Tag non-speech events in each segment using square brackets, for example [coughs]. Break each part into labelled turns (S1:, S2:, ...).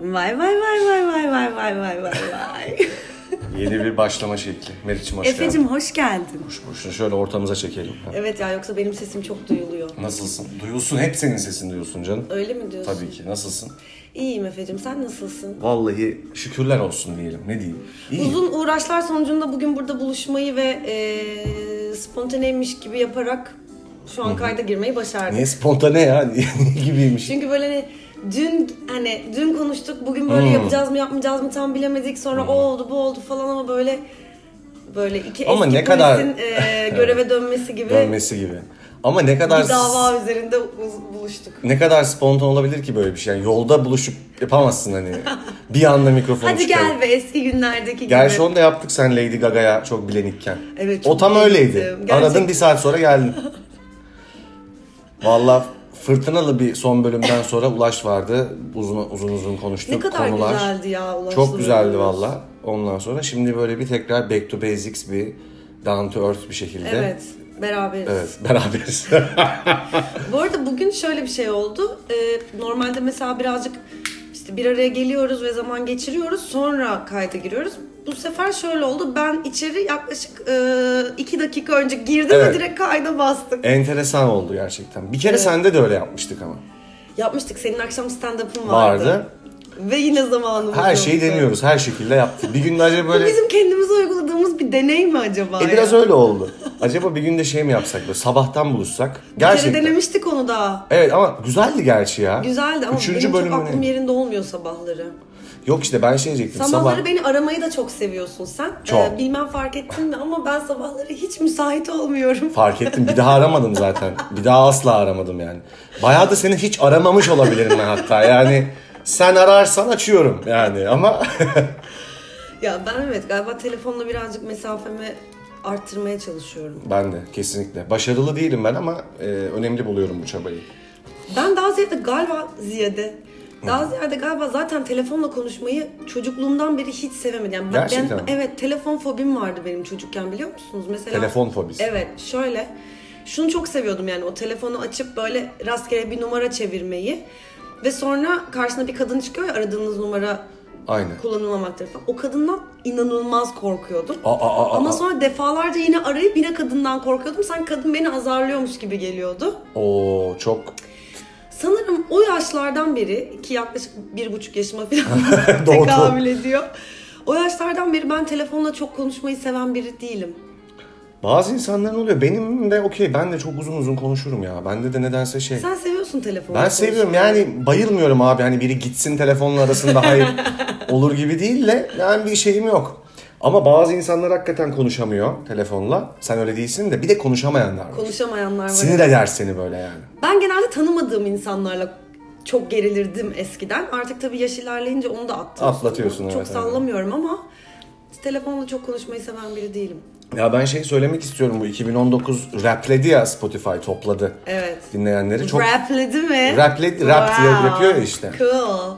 S1: Vay vay vay vay vay vay vay vay vay vay.
S2: Yeni bir başlama şekli. Meriç'im hoş geldin.
S1: Efe'cim hoş geldin.
S2: Hoş boşuna şöyle ortamıza çekelim. Ha.
S1: Evet ya yoksa benim sesim çok duyuluyor.
S2: Nasılsın? Duyulsun. Hep senin sesini duyulsun canım.
S1: Öyle mi diyorsun?
S2: Tabii ki. Nasılsın?
S1: İyiyim Efe'cim sen nasılsın?
S2: Vallahi şükürler olsun diyelim. Ne diyeyim? İyiyim.
S1: Uzun uğraşlar sonucunda bugün burada buluşmayı ve eee spontaneymiş gibi yaparak şu an kayda girmeyi başardık.
S2: Niye spontane ya? [laughs] Niye gibiymiş?
S1: Çünkü böyle hani dün hani dün konuştuk bugün böyle yapacağız mı yapmayacağız mı tam bilemedik sonra o oldu bu oldu falan ama böyle böyle iki
S2: Ama
S1: eski
S2: ne kadar-
S1: polisin eee,
S2: [laughs]
S1: göreve dönmesi gibi
S2: Dönmesi gibi. Ama ne kadar
S1: bir dava üzerinde uz- buluştuk.
S2: ne kadar spontan olabilir ki böyle bir şey? Yani yolda buluşup
S1: [laughs]
S2: yapamazsın hani. bir anda mikrofonu
S1: Hadi
S2: çıkarıp.
S1: gel be eski günlerdeki
S2: Gerçi
S1: gibi.
S2: onu da yaptık sen Lady Gaga'ya çok bilenikken.
S1: Evet,
S2: O
S1: çok
S2: tam
S1: bileniktim.
S2: öyleydi.
S1: Gerçekten.
S2: Aradın bir saat
S1: [laughs]
S2: sonra geldin. Vallahi fırtınalı bir son bölümden sonra Ulaş vardı. Uzun uzun uzun konuştuk.
S1: Ne kadar
S2: konular.
S1: güzeldi ya Ulaş'la
S2: Çok güzeldi
S1: beraber.
S2: valla. Ondan sonra şimdi böyle bir tekrar back to basics bir down to earth bir şekilde.
S1: Evet beraberiz.
S2: Evet, [laughs] beraberiz.
S1: Bu arada bugün şöyle bir şey oldu. Ee, normalde mesela birazcık işte bir araya geliyoruz ve zaman geçiriyoruz. Sonra kayda giriyoruz. Bu sefer şöyle oldu. Ben içeri yaklaşık e, iki dakika önce girdim
S2: Evet.
S1: ve direkt kayda bastık.
S2: Enteresan oldu gerçekten. Bir kere sende de öyle yapmıştık ama.
S1: Yapmıştık. Senin akşam stand-up'ın vardı.
S2: Vardı.
S1: Ve yine zamanımız
S2: Her şeyi
S1: yoktu.
S2: deniyoruz. Her şekilde yaptık. Bir gün de acaba böyle...
S1: Bizim kendimize uyguladığımız bir deney mi acaba?
S2: E biraz
S1: ya?
S2: öyle oldu. Acaba bir günde şey mi yapsak böyle sabahtan buluşsak?
S1: Bir kere
S2: Gerçekten.
S1: denemiştik onu da.
S2: Evet ama güzeldi gerçi ya.
S1: Güzeldi ama
S2: Üçüncü
S1: benim
S2: bölümü
S1: çok aklım
S2: ne?
S1: yerinde olmuyor sabahları.
S2: Yok işte ben şey diyecektim
S1: Sabahları
S2: sabah.
S1: beni aramayı da çok seviyorsun sen.
S2: Çok.
S1: Ee, bilmem fark ettin mi ama ben sabahları hiç müsait olmuyorum.
S2: Fark ettim bir daha aramadım zaten. Bir daha asla aramadım yani. Bayağı da seni hiç aramamış olabilirim ben hatta yani. Sen ararsan açıyorum yani ama [laughs]
S1: ya ben evet galiba telefonla birazcık mesafemi arttırmaya çalışıyorum.
S2: ben de kesinlikle. Başarılı değilim ben ama e, önemli buluyorum bu çabayı.
S1: Ben daha ziyade galiba ziyade daha ziyade galiba zaten telefonla konuşmayı çocukluğumdan beri hiç sevemedim. Yani ben,
S2: Gerçekten mi?
S1: ben- evet telefon fobim vardı benim çocukken biliyor musunuz? Mesela
S2: Telefon fobisi.
S1: Evet şöyle şunu çok seviyordum yani o telefonu açıp böyle rastgele bir numara çevirmeyi ve sonra karşına bir kadın çıkıyor ya aradığınız numara
S2: Aynen.
S1: kullanılmamaktadır falan. O kadından inanılmaz korkuyordum.
S2: Aa, aa, aa, aa.
S1: Ama sonra defalarca yine arayıp yine kadından korkuyordum. Sanki kadın beni azarlıyormuş gibi geliyordu.
S2: Oo çok
S1: Sanırım o yaşlardan beri ki yaklaşık bir buçuk yaşıma falan
S2: [laughs] Doğru.
S1: [laughs] tekabül ediyor. O yaşlardan beri ben telefonla çok konuşmayı seven biri değilim.
S2: Bazı insanların oluyor. Benim de okey. Ben de çok uzun uzun konuşurum ya. Bende de nedense şey.
S1: Sen seviyorsun telefonu.
S2: ben seviyorum yani bayılmıyorum abi. Hani biri gitsin telefonla arasın
S1: [laughs]
S2: daha iyi olur gibi değil de yani bir şeyim yok. Ama bazı insanlar hakikaten konuşamıyor telefonla. Sen öyle değilsin de bir de konuşamayanlar var.
S1: Konuşamayanlar var.
S2: Sinir eder seni böyle yani.
S1: Ben genelde tanımadığım insanlarla çok gerilirdim eskiden. Artık tabii yaş ilerleyince onu da atlatıyorsun.
S2: Atlatıyorsun,
S1: Çok
S2: evet, evet.
S1: sallamıyorum ama telefonla çok konuşmayı seven biri değilim.
S2: Ya ben şey söylemek istiyorum bu 2019 rapledi ya Spotify topladı.
S1: Evet.
S2: Dinleyenleri çok
S1: Rapledi mi?
S2: Rapledi, rap diye
S1: Wow,
S2: yapıyor ya işte.
S1: Cool.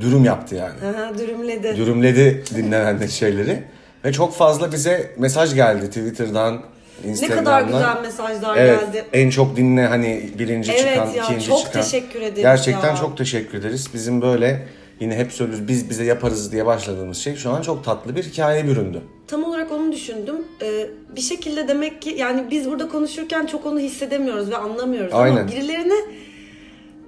S2: dürüm yaptı yani.
S1: Aha, dürümledi.
S2: dürümledi dinlenen şeyleri. Ve çok fazla bize mesaj geldi Twitter'dan,
S1: ne
S2: Instagram'dan.
S1: kadar güzel mesajlar
S2: Evet,
S1: geldi.
S2: en çok dinle hani birinci
S1: Evet
S2: çıkan,
S1: ya,
S2: ikinci
S1: çok
S2: çıkan.
S1: teşekkür ederiz
S2: Gerçekten
S1: ya.
S2: çok teşekkür ederiz. Bizim böyle yine hep söylüyoruz biz bize yaparız diye başladığımız şey şu an çok tatlı bir hikaye büründü.
S1: Tam olarak onu düşündüm. Ee, bir şekilde demek ki yani biz burada konuşurken çok onu hissedemiyoruz ve anlamıyoruz
S2: Aynen.
S1: ama birilerine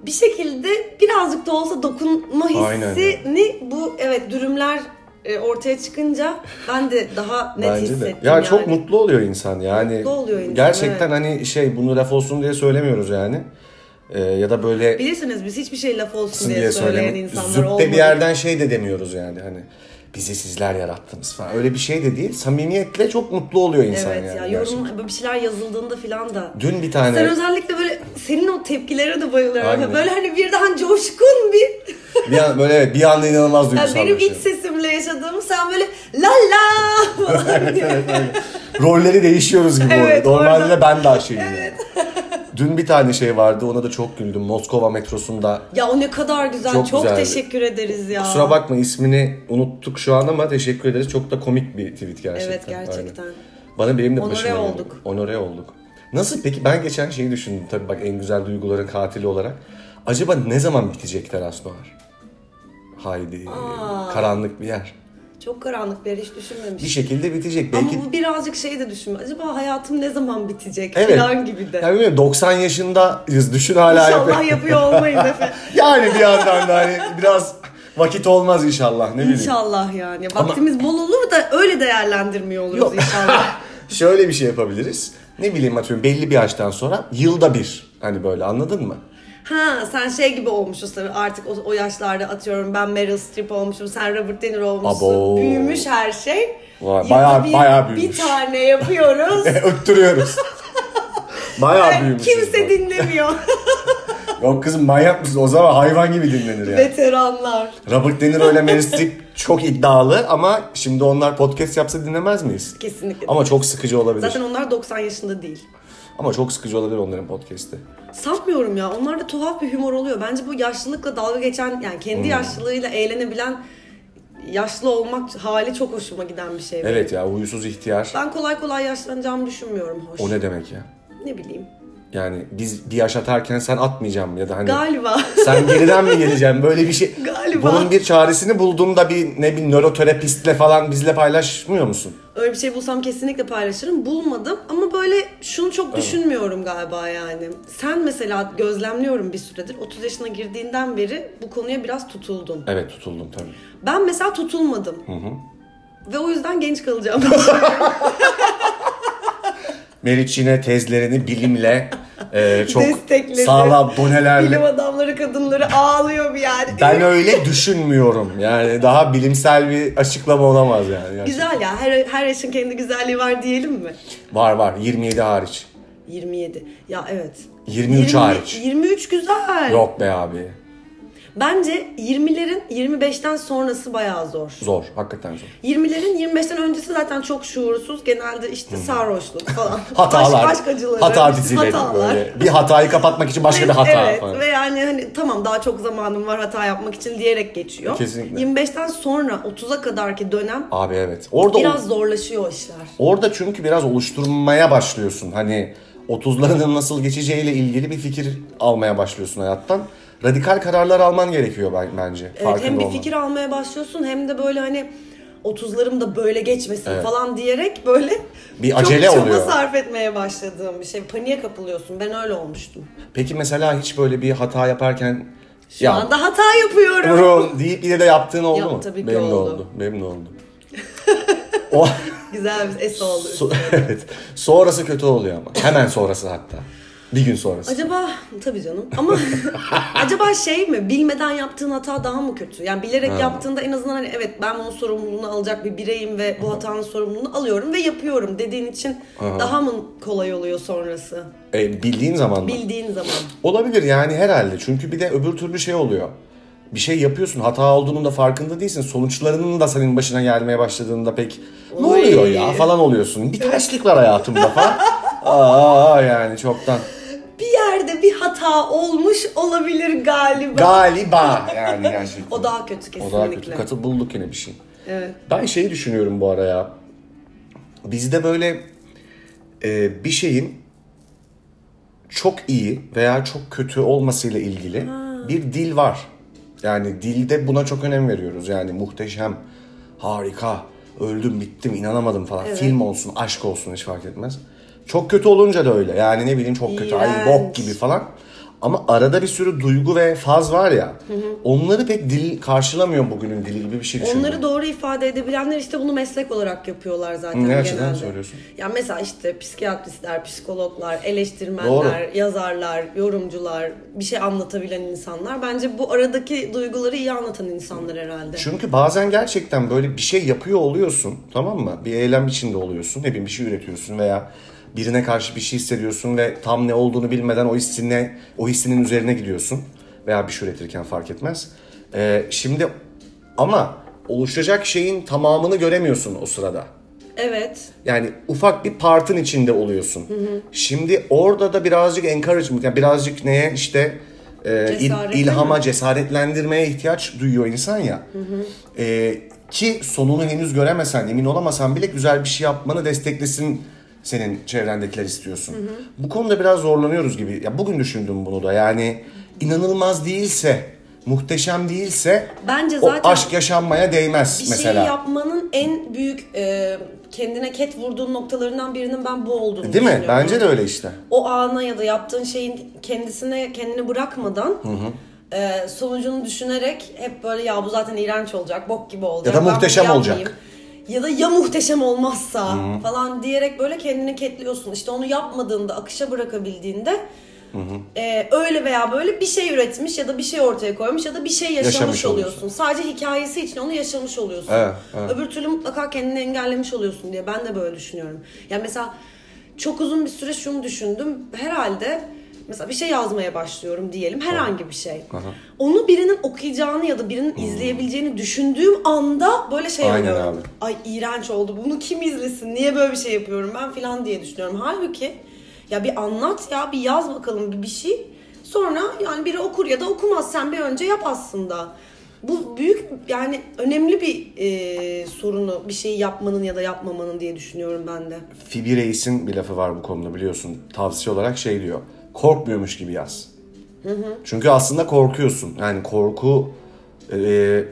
S1: bir şekilde birazcık da olsa dokunma
S2: Aynen
S1: hissini bu evet dürümler e, ortaya çıkınca ben de daha net
S2: Bence de.
S1: hissettim.
S2: Ya
S1: yani.
S2: çok mutlu oluyor insan yani.
S1: Mutlu oluyor insan,
S2: Gerçekten hani şey bunu laf olsun diye söylemiyoruz yani. Ee, ya da böyle
S1: Bilirsiniz biz hiçbir şey laf olsun
S2: olsun
S1: diye,
S2: diye
S1: söyleyen
S2: söyleme.
S1: insanlar
S2: Züppe
S1: olmadık.
S2: bir yerden şey de demiyoruz yani hani bizi sizler yarattınız falan. Öyle bir şey de değil. Samimiyetle çok mutlu oluyor insan
S1: Evet
S2: yani.
S1: ya
S2: gerçekten.
S1: yorum böyle bir şeyler yazıldığında filan da.
S2: Dün bir tane
S1: Sen özellikle böyle senin o tepkilere de bayılıyorum.
S2: Aynen.
S1: Böyle hani birden coşkun bir
S2: bir an, böyle bir anda inanılmaz
S1: Yani
S2: duygusal
S1: benim
S2: bir şey.
S1: iç sesimle yaşadığımı sen böyle la la falan diye.
S2: Rolleri değişiyoruz gibi
S1: Evet,
S2: oluyor. Normalde
S1: orada-
S2: ben daha şeyim yani. Dün bir tane şey vardı ona da çok güldüm. Moskova metrosunda.
S1: ya o ne kadar güzel.
S2: Çok
S1: Çok,
S2: güzeldi.
S1: teşekkür ederiz ya.
S2: Kusura bakma ismini unuttuk şu an ama teşekkür ederiz. Çok da komik bir tweet gerçekten.
S1: Evet gerçekten.
S2: Aynen. Bana benim de
S1: Onore
S2: başıma geldi.
S1: olduk.
S2: Onore olduk. Nasıl peki ben geçen şeyi düşündüm tabii bak en güzel duyguların katili olarak. Acaba ne zaman bitecek teras noir? Haydi.
S1: Aa.
S2: Karanlık bir yer.
S1: Çok karanlık bir yer hiç
S2: Bir şey
S1: düşünmemiştim.
S2: şekilde bitecek.
S1: Ama
S2: Belki
S1: bu birazcık şey de düşünme. Acaba hayatım ne zaman bitecek
S2: Evet.
S1: falan gibi de.
S2: Ya bilmiyorum 90 yaşındayız düşün hala
S1: İnşallah
S2: yapıyor.
S1: yapıyor olmayız
S2: [laughs]
S1: efendim.
S2: Yani bir yandan da hani biraz vakit olmaz inşallah ne bileyim.
S1: İnşallah yani.
S2: Ama-
S1: Vaktimiz bol olur da öyle değerlendirmiyor oluruz
S2: Yok. [laughs]
S1: inşallah.
S2: Şöyle bir şey yapabiliriz. Ne bileyim atıyorum belli bir yaştan sonra yılda bir hani böyle anladın mı? [laughs]
S1: Ha sen şey gibi olmuşuz tabii artık o, o yaşlarda atıyorum ben Meryl Streep olmuşum sen Robert De Niro olmuşsun.
S2: Abo.
S1: Büyümüş her şey.
S2: Vay,
S1: Yılda
S2: bayağı-
S1: bir,
S2: bayağı büyümüş.
S1: Bir tane yapıyoruz.
S2: E, Öttürüyoruz. [laughs] Bayağı büyümüşüz.
S1: Kimse
S2: bu. [laughs]
S1: dinlemiyor.
S2: Yok kızım manyak mısın? O zaman hayvan gibi dinlenir yani.
S1: Veteranlar.
S2: Robert De Niro ile Meryl Streep çok iddialı ama şimdi onlar podcast yapsa dinlemez miyiz?
S1: Kesinlikle.
S2: Ama çok sıkıcı olabilir.
S1: Zaten onlar 90 yaşında değil.
S2: Ama çok sıkıcı olabilir onların podcast'i.
S1: Sanmıyorum ya. Onlarda tuhaf bir humor oluyor. Bence bu yaşlılıkla dalga geçen yani kendi
S2: Hmm.
S1: yaşlılığıyla eğlenebilen yaşlı olmak hali çok hoşuma giden bir şey. benim.
S2: Evet ya huysuz ihtiyar.
S1: Ben kolay kolay yaşlanacağımı düşünmüyorum hoş.
S2: O ne demek ya?
S1: Ne bileyim.
S2: Yani biz bir yaş atarken sen atmayacağım ya da hani
S1: Galiba.
S2: sen geriden mi geleceğim böyle bir şey.
S1: Galiba.
S2: Bunun bir çaresini bulduğunda bir ne bir nöroterapistle falan bizle paylaşmıyor musun?
S1: Öyle bir şey bulsam kesinlikle paylaşırım. Bulmadım ama böyle şunu çok düşünmüyorum galiba yani. Sen mesela gözlemliyorum bir süredir. 30 yaşına girdiğinden beri bu konuya biraz tutuldun.
S2: Evet tutuldum tabii.
S1: Ben mesela tutulmadım. Ve o yüzden genç kalacağım.
S2: Meriç'ine tezlerini bilimle e, çok
S1: Destekledi.
S2: sağlam
S1: [laughs] Bilim
S2: donelerle.
S1: adamları kadınları ağlıyor bir yani.
S2: Ben öyle düşünmüyorum. Yani daha bilimsel bir açıklama olamaz yani. yani
S1: Güzel ya. Her, her yaşın kendi güzelliği var diyelim mi?
S2: var var 27 hariç.
S1: 27. Ya evet.
S2: 23
S1: Yirmi-
S2: hariç.
S1: 23 güzel.
S2: Yok be abi.
S1: Bence 20'lerin 25'ten sonrası bayağı zor.
S2: Zor. Hakikaten zor.
S1: 20'lerin 25'ten öncesi zaten çok şuursuz. Genelde işte sarhoşluk falan.
S2: [laughs] Hatalar.
S1: Aşk, aşk acıları.
S2: hata
S1: işte
S2: dizileri
S1: hatalar.
S2: böyle. Bir hatayı kapatmak için başka bir hata
S1: evet,
S2: falan.
S1: Ve yani hani tamam daha çok zamanım var hata yapmak için diyerek geçiyor.
S2: Kesinlikle.
S1: 25'ten sonra 30'a kadarki dönem
S2: Abi evet. Orada
S1: biraz zorlaşıyor işler.
S2: orada çünkü biraz oluşturmaya başlıyorsun. Hani 30'larının nasıl geçeceğiyle ilgili bir fikir almaya başlıyorsun hayattan. Radikal kararlar alman gerekiyor ben- bence.
S1: Evet, hem bir
S2: farkında olman.
S1: fikir almaya başlıyorsun hem de böyle hani 30'larım da böyle geçmesin falan diyerek böyle
S2: Bir
S1: çok
S2: acele
S1: çaba
S2: oluyor.
S1: sarf etmeye başladığım bir şey. Paniğe kapılıyorsun. Ben öyle olmuştum.
S2: Peki mesela hiç böyle bir hata yaparken
S1: Şu anda hata yapıyorum.
S2: Bro deyip yine de yaptığın oldu
S1: Yap-
S2: mu?
S1: tabii ki
S2: Benim de
S1: oldu.
S2: oldu. Benim de oldu. o [laughs]
S1: Güzel bir es oldu.
S2: so- [laughs] evet. Sonrası kötü oluyor ama. Hemen sonrası hatta. Bir gün sonrası.
S1: Acaba tabii canım ama [laughs] acaba şey mi bilmeden yaptığın hata daha mı kötü? Yani bilerek yaptığında en azından hani evet ben bunun sorumluluğunu alacak bir bireyim ve bu hatanın sorumluluğunu alıyorum ve yapıyorum dediğin için daha mı kolay oluyor sonrası?
S2: E, bildiğin zaman mı?
S1: Bildiğin zaman.
S2: Olabilir yani herhalde. Çünkü bir de öbür türlü şey oluyor. Bir şey yapıyorsun hata olduğunun da farkında değilsin. Sonuçlarının da senin başına gelmeye başladığında pek ne
S1: Oy.
S2: oluyor ya falan oluyorsun. Bir terslik var hayatımda falan. Aa yani çoktan.
S1: Bir yerde bir hata olmuş olabilir galiba.
S2: Galiba yani gerçekten.
S1: [laughs] o daha kötü kesinlikle.
S2: O daha kötü. Katı bulduk yine bir şey.
S1: Evet.
S2: Ben şeyi düşünüyorum bu ara ya. Bizde böyle e, bir şeyin çok iyi veya çok kötü olmasıyla ilgili bir dil var. Yani dilde buna çok önem veriyoruz. Yani muhteşem, harika, öldüm bittim inanamadım falan. Film olsun, aşk olsun hiç fark etmez. Çok kötü olunca da öyle. Yani ne bileyim çok kötü, ay bok
S1: İğrenç.
S2: gibi falan. Ama arada bir sürü duygu ve faz var ya. Onları pek dil karşılamıyor bugünün dili gibi bir şey düşünüyorum.
S1: Onları doğru ifade edebilenler işte bunu meslek olarak yapıyorlar zaten
S2: Ne
S1: genelde.
S2: açıdan söylüyorsun?
S1: Ya mesela işte psikiyatristler, psikologlar, eleştirmenler,
S2: Doğru.
S1: yazarlar, yorumcular, bir şey anlatabilen insanlar. Bence bu aradaki duyguları iyi anlatan insanlar herhalde.
S2: Çünkü bazen gerçekten böyle bir şey yapıyor oluyorsun tamam mı? Bir eylem içinde oluyorsun. Ne bileyim bir şey üretiyorsun veya birine karşı bir şey hissediyorsun ve tam ne olduğunu bilmeden o hissine, o hissinin üzerine gidiyorsun. Veya bir şey üretirken fark etmez. Ee, şimdi ama oluşacak şeyin tamamını göremiyorsun o sırada.
S1: Evet.
S2: Yani ufak bir partın içinde oluyorsun. Şimdi orada da birazcık encouragement, yani birazcık neye işte e, il-
S1: Cesarete
S2: ilhama, cesaretlendirmeye ihtiyaç duyuyor insan ya. E, ki sonunu henüz göremesen, emin olamasan bile güzel bir şey yapmanı desteklesin senin çevrendekiler istiyorsun. Bu konuda biraz zorlanıyoruz gibi. Ya bugün düşündüm bunu da. Yani inanılmaz değilse muhteşem değilse
S1: Bence
S2: o
S1: zaten
S2: aşk yaşanmaya değmez
S1: bir şey
S2: mesela.
S1: şeyi yapmanın en büyük e, kendine ket vurduğun noktalarından birinin ben bu olduğunu
S2: Değil mi?
S1: düşünüyorum.
S2: Bence de öyle işte.
S1: o ana ya da yaptığın şeyin kendisine kendini bırakmadan e, sonucunu düşünerek hep böyle ya bu zaten iğrenç olacak, bok gibi olacak.
S2: Ya da
S1: ben bunu
S2: muhteşem olacak."
S1: yapmayayım." Ya da ya muhteşem olmazsa falan diyerek böyle kendini ketliyorsun. İşte onu yapmadığında, akışa bırakabildiğinde e, öyle veya böyle bir şey üretmiş ya da bir şey ortaya koymuş ya da bir şey yaşamış,
S2: Yaşamış
S1: oluyorsun.
S2: oluyorsun.
S1: Sadece hikayesi için onu yaşamış oluyorsun.
S2: Evet, evet.
S1: Öbür türlü mutlaka kendini engellemiş oluyorsun diye ben de böyle düşünüyorum. Yani mesela çok uzun bir süre şunu düşündüm. Herhalde mesela bir şey yazmaya başlıyorum diyelim herhangi bir şey. Onu birinin okuyacağını ya da
S2: Hmm.
S1: birinin izleyebileceğini düşündüğüm anda böyle şey
S2: Aynen
S1: oluyorum.
S2: abi.
S1: Ay iğrenç oldu. Bunu kim izlesin? Niye böyle bir şey yapıyorum ben filan diye düşünüyorum. Halbuki ya bir anlat ya bir yaz bakalım bir, bir şey. Sonra yani biri okur ya da okumaz. Sen bir önce yap aslında. Bu büyük yani önemli bir e, sorunu bir şeyi yapmanın ya da yapmamanın diye düşünüyorum ben de.
S2: Phoebe Reis'in bir lafı var bu konuda biliyorsun. Tavsiye olarak şey diyor. Korkmuyormuş gibi yaz. Çünkü aslında korkuyorsun. Yani korku e,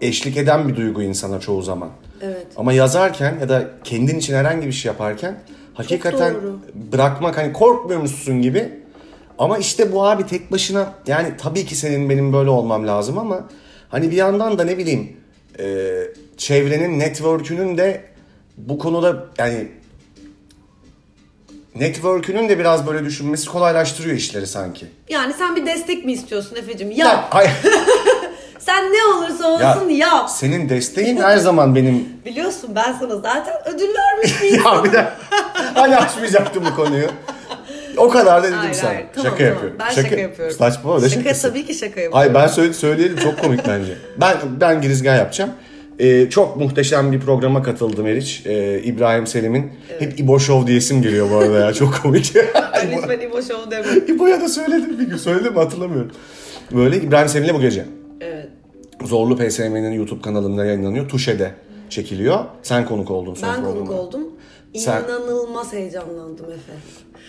S2: eşlik eden bir duygu insana çoğu zaman.
S1: Evet.
S2: Ama yazarken ya da kendin için herhangi bir şey yaparken hakikaten
S1: doğru.
S2: bırakmak hani korkmuyormuşsun gibi. Ama işte bu abi tek başına yani tabii ki senin benim böyle olmam lazım ama hani bir yandan da ne bileyim e, çevrenin network'ünün de bu konuda yani network'ünün de biraz böyle düşünmesi kolaylaştırıyor işleri sanki.
S1: Yani sen bir destek mi istiyorsun Efe'cim? Yap.
S2: Ya,
S1: [laughs]
S2: ay-
S1: Sen ne olursa
S2: ya,
S1: olsun yap.
S2: Senin desteğin her zaman benim.
S1: Biliyorsun ben sana zaten ödül vermiş
S2: [laughs]
S1: miyim?
S2: Ya
S1: [laughs]
S2: bir de hani açmayacaktım bu konuyu. O kadar da dedim
S1: Hayır,
S2: sana.
S1: hayır. Tamam,
S2: şaka
S1: tamam.
S2: yapıyorum.
S1: Ben şaka yapıyorum.
S2: Saçma öyle
S1: şaka
S2: şakası.
S1: tabii ki şaka yapıyorum.
S2: Hayır ben söyle- söyleyelim çok komik bence. Ben ben girizgah yapacağım. Ee, çok muhteşem bir programa katıldım Meriç. Ee, İbrahim Selim'in. Hep İbo Show diyesim geliyor bu arada ya. Çok
S1: [laughs]
S2: komik.
S1: Ben lütfen İbo Show deme.
S2: [laughs] İbo'ya da söyledim bir gün. Söyledim mi hatırlamıyorum. Böyle İbrahim Selim'le bu gece.
S1: Evet.
S2: Zorlu PSM'nin YouTube kanalında yayınlanıyor. Tuşe'de çekiliyor. Sen konuk oldun son
S1: Ben konuk
S2: programa.
S1: oldum.
S2: Sen-
S1: İnanılmaz heyecanlandım Efe.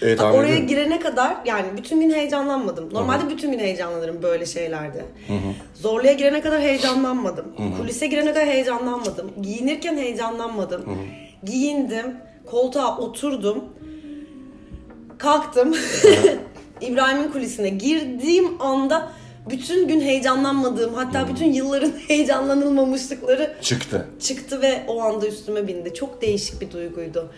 S2: Evet,
S1: Bak,
S2: tahmin
S1: oraya
S2: ediyorum.
S1: girene kadar yani bütün gün heyecanlanmadım. Normalde bütün gün heyecanlanırım böyle şeylerde. Zorluya girene kadar heyecanlanmadım. Kulise girene kadar heyecanlanmadım. Giyinirken heyecanlanmadım. Giyindim, koltuğa oturdum. Kalktım. [laughs] İbrahim'in kulisine girdiğim anda bütün gün heyecanlanmadığım hatta bütün yılların [laughs] heyecanlanılmamışlıkları
S2: Çıktı.
S1: çıktı ve o anda üstüme bindi. Çok değişik bir duyguydu.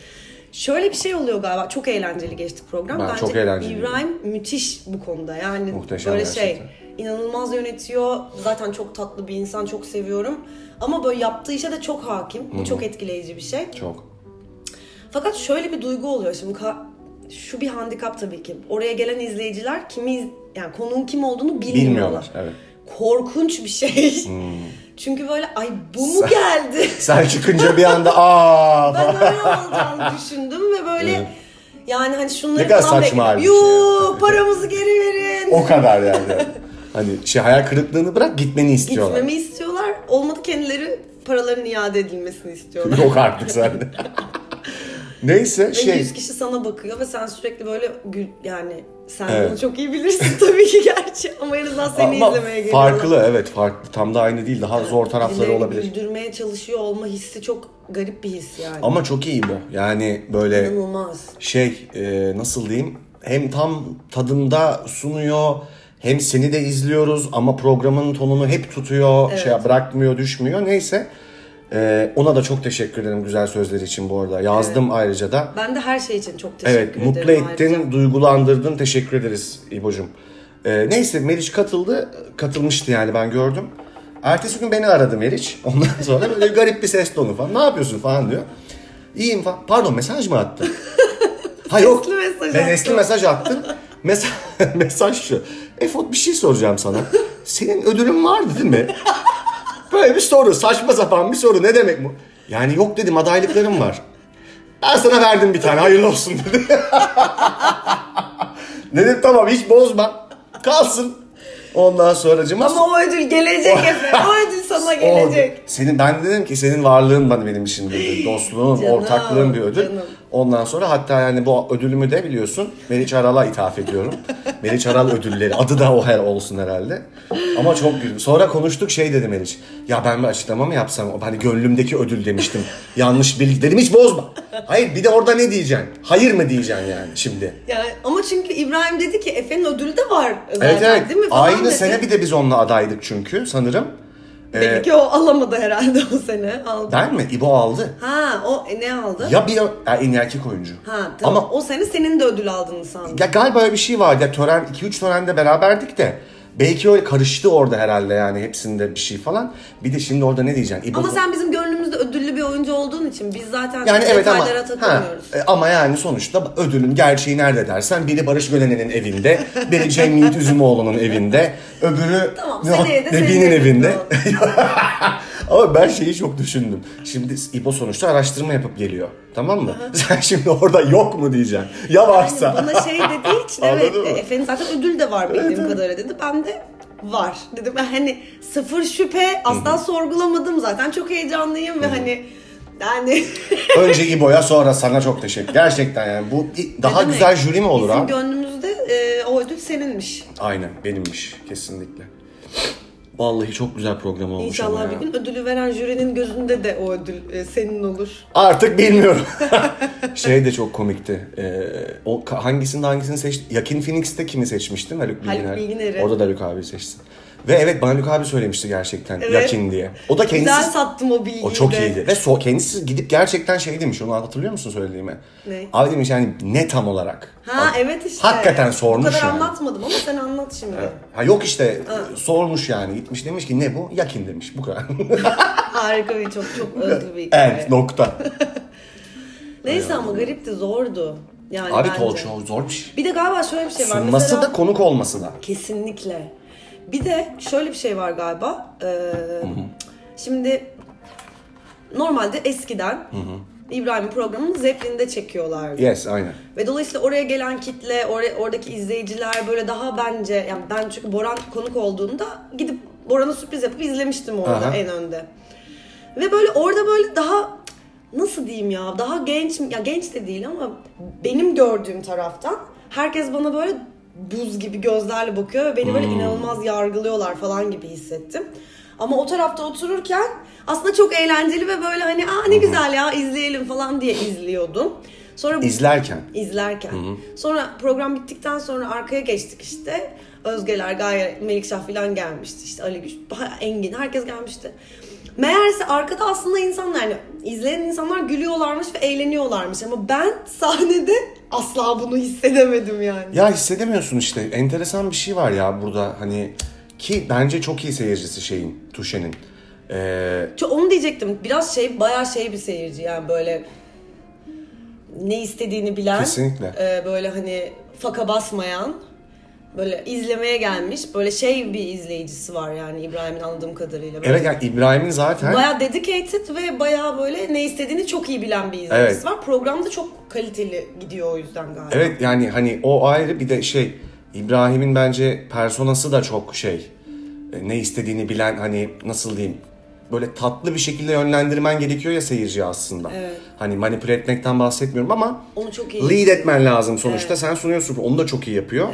S1: Şöyle bir şey oluyor galiba. Çok eğlenceli geçti program.
S2: Ben
S1: Bence
S2: çok eğlenceliydi.
S1: İbrahim müthiş bu konuda. Yani
S2: Muhteşem
S1: böyle
S2: gerçekten.
S1: şey inanılmaz yönetiyor. Zaten çok tatlı bir insan. Çok seviyorum. Ama böyle yaptığı işe de çok hakim. Bu çok etkileyici bir şey.
S2: Çok.
S1: Fakat şöyle bir duygu oluyor şimdi ka- şu bir handikap tabii ki. Oraya gelen izleyiciler kimi iz- yani konuğun kim olduğunu bilmiyorlar.
S2: Bilmiyorlar. Evet. Hmm.
S1: Korkunç bir şey. [laughs] Çünkü böyle ay bu mu geldi?
S2: Sen çıkınca bir anda aa
S1: Ben
S2: falan.
S1: öyle olacağını düşündüm ve böyle
S2: Evet.
S1: yani hani şunları
S2: Ne kadar
S1: falan
S2: saçma şey
S1: bekledim.
S2: halbuki ya.
S1: Yuh paramızı geri verin.
S2: o
S1: [laughs]
S2: kadar yani. hani şey hayal kırıklığını bırak gitmeni istiyorlar.
S1: Gitmemi istiyorlar. Olmadı kendileri paraların iade edilmesini istiyorlar.
S2: [laughs] Yok artık sende. Neyse
S1: Ve
S2: şey
S1: 100 kişi sana bakıyor ve sen sürekli böyle gül yani sen
S2: Evet.
S1: bunu çok iyi bilirsin [laughs] tabii ki gerçi ama en azından seni
S2: ama
S1: izlemeye geliyorlar.
S2: farklı evet farklı tam da aynı değil daha zor tarafları
S1: Birileri
S2: olabilir.
S1: Güldürmeye çalışıyor olma hissi çok garip bir his yani.
S2: Ama çok iyi bu. Yani böyle
S1: İnanılmaz.
S2: şey e, nasıl diyeyim hem tam tadında sunuyor hem seni de izliyoruz ama programın tonunu hep tutuyor şey bırakmıyor düşmüyor neyse E, ona da çok teşekkür ederim güzel sözleri için bu arada yazdım ayrıca da
S1: Ben de her şey için çok teşekkür
S2: evet
S1: ederim.
S2: mutlu ettin
S1: ayrıca.
S2: duygulandırdın teşekkür ederiz İbo'cum E, neyse Meriç katıldı katılmıştı yani ben gördüm ertesi gün beni aradı Meriç ondan [laughs] sonra böyle garip bir ses tonu falan ne yapıyorsun falan diyor İyiyim falan. Pardon mesaj mı attın?
S1: [laughs]
S2: Ha yok.
S1: Sesli mesaj
S2: ben
S1: attım.
S2: sesli mesaj attım. Mesaj, [laughs] mesaj şu. Efot bir şey soracağım sana. Senin ödülün vardı değil mi? Böyle bir soru. Saçma sapan bir soru. Ne demek bu? Yani yok dedim adaylıklarım var. Ben sana verdim bir tane hayırlı olsun dedi. [laughs] dedim tamam hiç bozma. Kalsın. Ondan sonracıma
S1: Ama o ödül
S2: [laughs]
S1: gelecek Efe. O ödül sana
S2: o-
S1: gelecek. [laughs]
S2: Senin ben dedim ki senin varlığın bana benim için bir ödül. Dostluğun,
S1: Canım,
S2: ortaklığın bir ödül.
S1: canım.
S2: Ondan sonra hatta yani bu ödülümü de biliyorsun Meriç Aral'a
S1: [laughs]
S2: ithaf ediyorum. Meriç Aral ödülleri. Adı da o her olsun herhalde. Ama çok güldüm. Sonra konuştuk şey dedi Meriç. Ya ben bir açıklama mı yapsam? Hani gönlümdeki ödül demiştim. Yanlış bilgi dedim hiç bozma. Hayır bir de orada ne diyeceksin? Hayır mı diyeceksin yani şimdi?
S1: Yani ama çünkü İbrahim dedi ki Efe'nin ödülü de var zaten
S2: Evet evet.
S1: değil mi? falan
S2: Aynı
S1: dedi.
S2: sene bir Ee, de biz onunla adaydık çünkü sanırım.
S1: Belli ki o alamadı herhalde [laughs] o sene. Aldı.
S2: Ben mi? İbo aldı.
S1: Ha o e, ne aldı?
S2: Ya bir ya en iyi erkek oyuncu.
S1: Ha tamam.
S2: Ama
S1: o sene senin de ödül aldığını sandım.
S2: ya galiba öyle bir şey vardı. Ya tören 2-3 törende beraberdik de. Belki öyle karıştı orada herhalde yani hepsinde bir şey falan. Bir de şimdi orada ne diyeceksin? İbo
S1: Ama sen bizim gönlümüzde ödüllü bir oyuncu olduğun için biz zaten
S2: yani evet ama
S1: detaylara
S2: ha, [laughs]
S1: takılmıyoruz.
S2: e, ama yani sonuçta ödülün gerçeği nerede dersen biri Barış Gölen'in evinde, biri Cem Yiğit Üzümoğlu'nun evinde, öbürü
S1: Tamam,
S2: Nihat
S1: seneye de senin
S2: [laughs] Nebi'nin
S1: evinde
S2: evinde. [laughs] Ama ben şeyi çok düşündüm. Şimdi İbo sonuçta araştırma yapıp geliyor. Tamam mı? Sen şimdi orada yok mu diyeceksin. Ya varsa.
S1: Yani bana şey
S2: [laughs]
S1: dediği için
S2: Anladın
S1: evet
S2: mı?
S1: e, efendim zaten ödül de var bildiğim kadarıyla dedi. Ben de var dedim. Ben hani sıfır şüphe asla sorgulamadım zaten. Çok heyecanlıyım ve hani yani
S2: Önce İbo'ya sonra sana çok teşekkür. Gerçekten yani bu daha
S1: demek?
S2: güzel jüri mi olur
S1: [laughs] bizim
S2: ha?
S1: gönlümüzde e, o ödül seninmiş.
S2: Aynen benimmiş kesinlikle. Vallahi çok güzel program olmuş ama
S1: İnşallah
S2: ya.
S1: bir gün ödülü veren jürinin gözünde de o ödül e, senin olur.
S2: Artık bilmiyorum. [laughs] şey de çok komikti. Ee, o ka- hangisinde hangisini seçti? Yakin Phoenix'te kimi seçmiştin? Haluk Bilginer.
S1: Haluk Bilginer'i.
S2: Orada da Haluk abi seçtin. Ve evet bana Haluk abi söylemişti gerçekten
S1: Evet.
S2: Yakin diye. O da kendisi
S1: Güzel sattım o bilgiyi
S2: O çok
S1: de.
S2: iyiydi. Ve so, kendisi gidip gerçekten şey demiş. Onu hatırlıyor musun söylediğimi?
S1: Ne?
S2: Abi demiş yani ne tam olarak?
S1: Ha
S2: Abi-
S1: evet işte.
S2: Hakikaten sormuş
S1: Bu kadar
S2: yani.
S1: anlatmadım ama sen anlat şimdi.
S2: Ha yok işte sormuş yani gitmiş demiş ki ne bu? Yakin demiş bu kadar. [laughs]
S1: Harika ve çok çok ödül bir hikaye. [laughs]
S2: evet nokta.
S1: Neyse ama garipti zordu. Yani
S2: Abi
S1: bence.
S2: talk show zor bir şey.
S1: Bir de galiba şöyle bir şey var.
S2: Sunması
S1: Mesela-
S2: da konuk olması da.
S1: Kesinlikle. Bir de şöyle bir şey var galiba. Ee, şimdi normalde eskiden İbrahim'in programını Zeppelin'de çekiyorlardı.
S2: Yes aynen.
S1: Ve dolayısıyla oraya gelen kitle, or- oradaki izleyiciler böyle daha bence... Yani ben çünkü Boran konuk olduğunda gidip Boran'a sürpriz yapıp izlemiştim orada
S2: Aha.
S1: en önde. Ve böyle orada böyle daha nasıl diyeyim ya daha genç mi- ya genç de değil ama benim gördüğüm taraftan herkes bana böyle buz gibi gözlerle bakıyor ve beni böyle inanılmaz yargılıyorlar falan gibi hissettim. Ama o tarafta otururken aslında çok eğlenceli ve böyle hani aa ne güzel ya izleyelim falan diye izliyordum. Sonra bu-
S2: İzlerken.
S1: izlerken. Sonra program bittikten sonra arkaya geçtik işte. Özgeler, Gaye, Melikşah falan gelmişti. İşte Ali Güç, Ha- Engin herkes gelmişti. Meğerse arkada aslında insanlar yani izleyen insanlar gülüyorlarmış ve eğleniyorlarmış ama ben sahnede asla bunu hissedemedim yani.
S2: Ya hissedemiyorsun işte. Enteresan bir şey var ya burada hani ki bence çok iyi seyircisi şeyin, Tuşe'nin. Ee,
S1: Ço- Onu diyecektim. Biraz şey bayağı şey bir seyirci yani böyle ne istediğini bilen.
S2: Kesinlikle.
S1: e, böyle hani faka basmayan. Böyle izlemeye gelmiş. Böyle şey bir izleyicisi var yani İbrahim'in anladığım kadarıyla. Böyle
S2: evet yani İbrahim'in zaten
S1: Bayağı dedicated ve bayağı böyle ne istediğini çok iyi bilen bir izleyicisi
S2: Evet.
S1: var. Programda çok kaliteli gidiyor o yüzden galiba.
S2: Evet yani hani o ayrı bir de şey İbrahim'in bence personası da çok şey e, ne istediğini bilen hani nasıl diyeyim böyle tatlı bir şekilde yönlendirmen gerekiyor ya seyirciyi aslında. Hani manipüle etmekten bahsetmiyorum ama
S1: Onu çok iyi.
S2: lead etmen lazım sonuçta. Sen sunuyorsun. Onu da çok iyi yapıyor.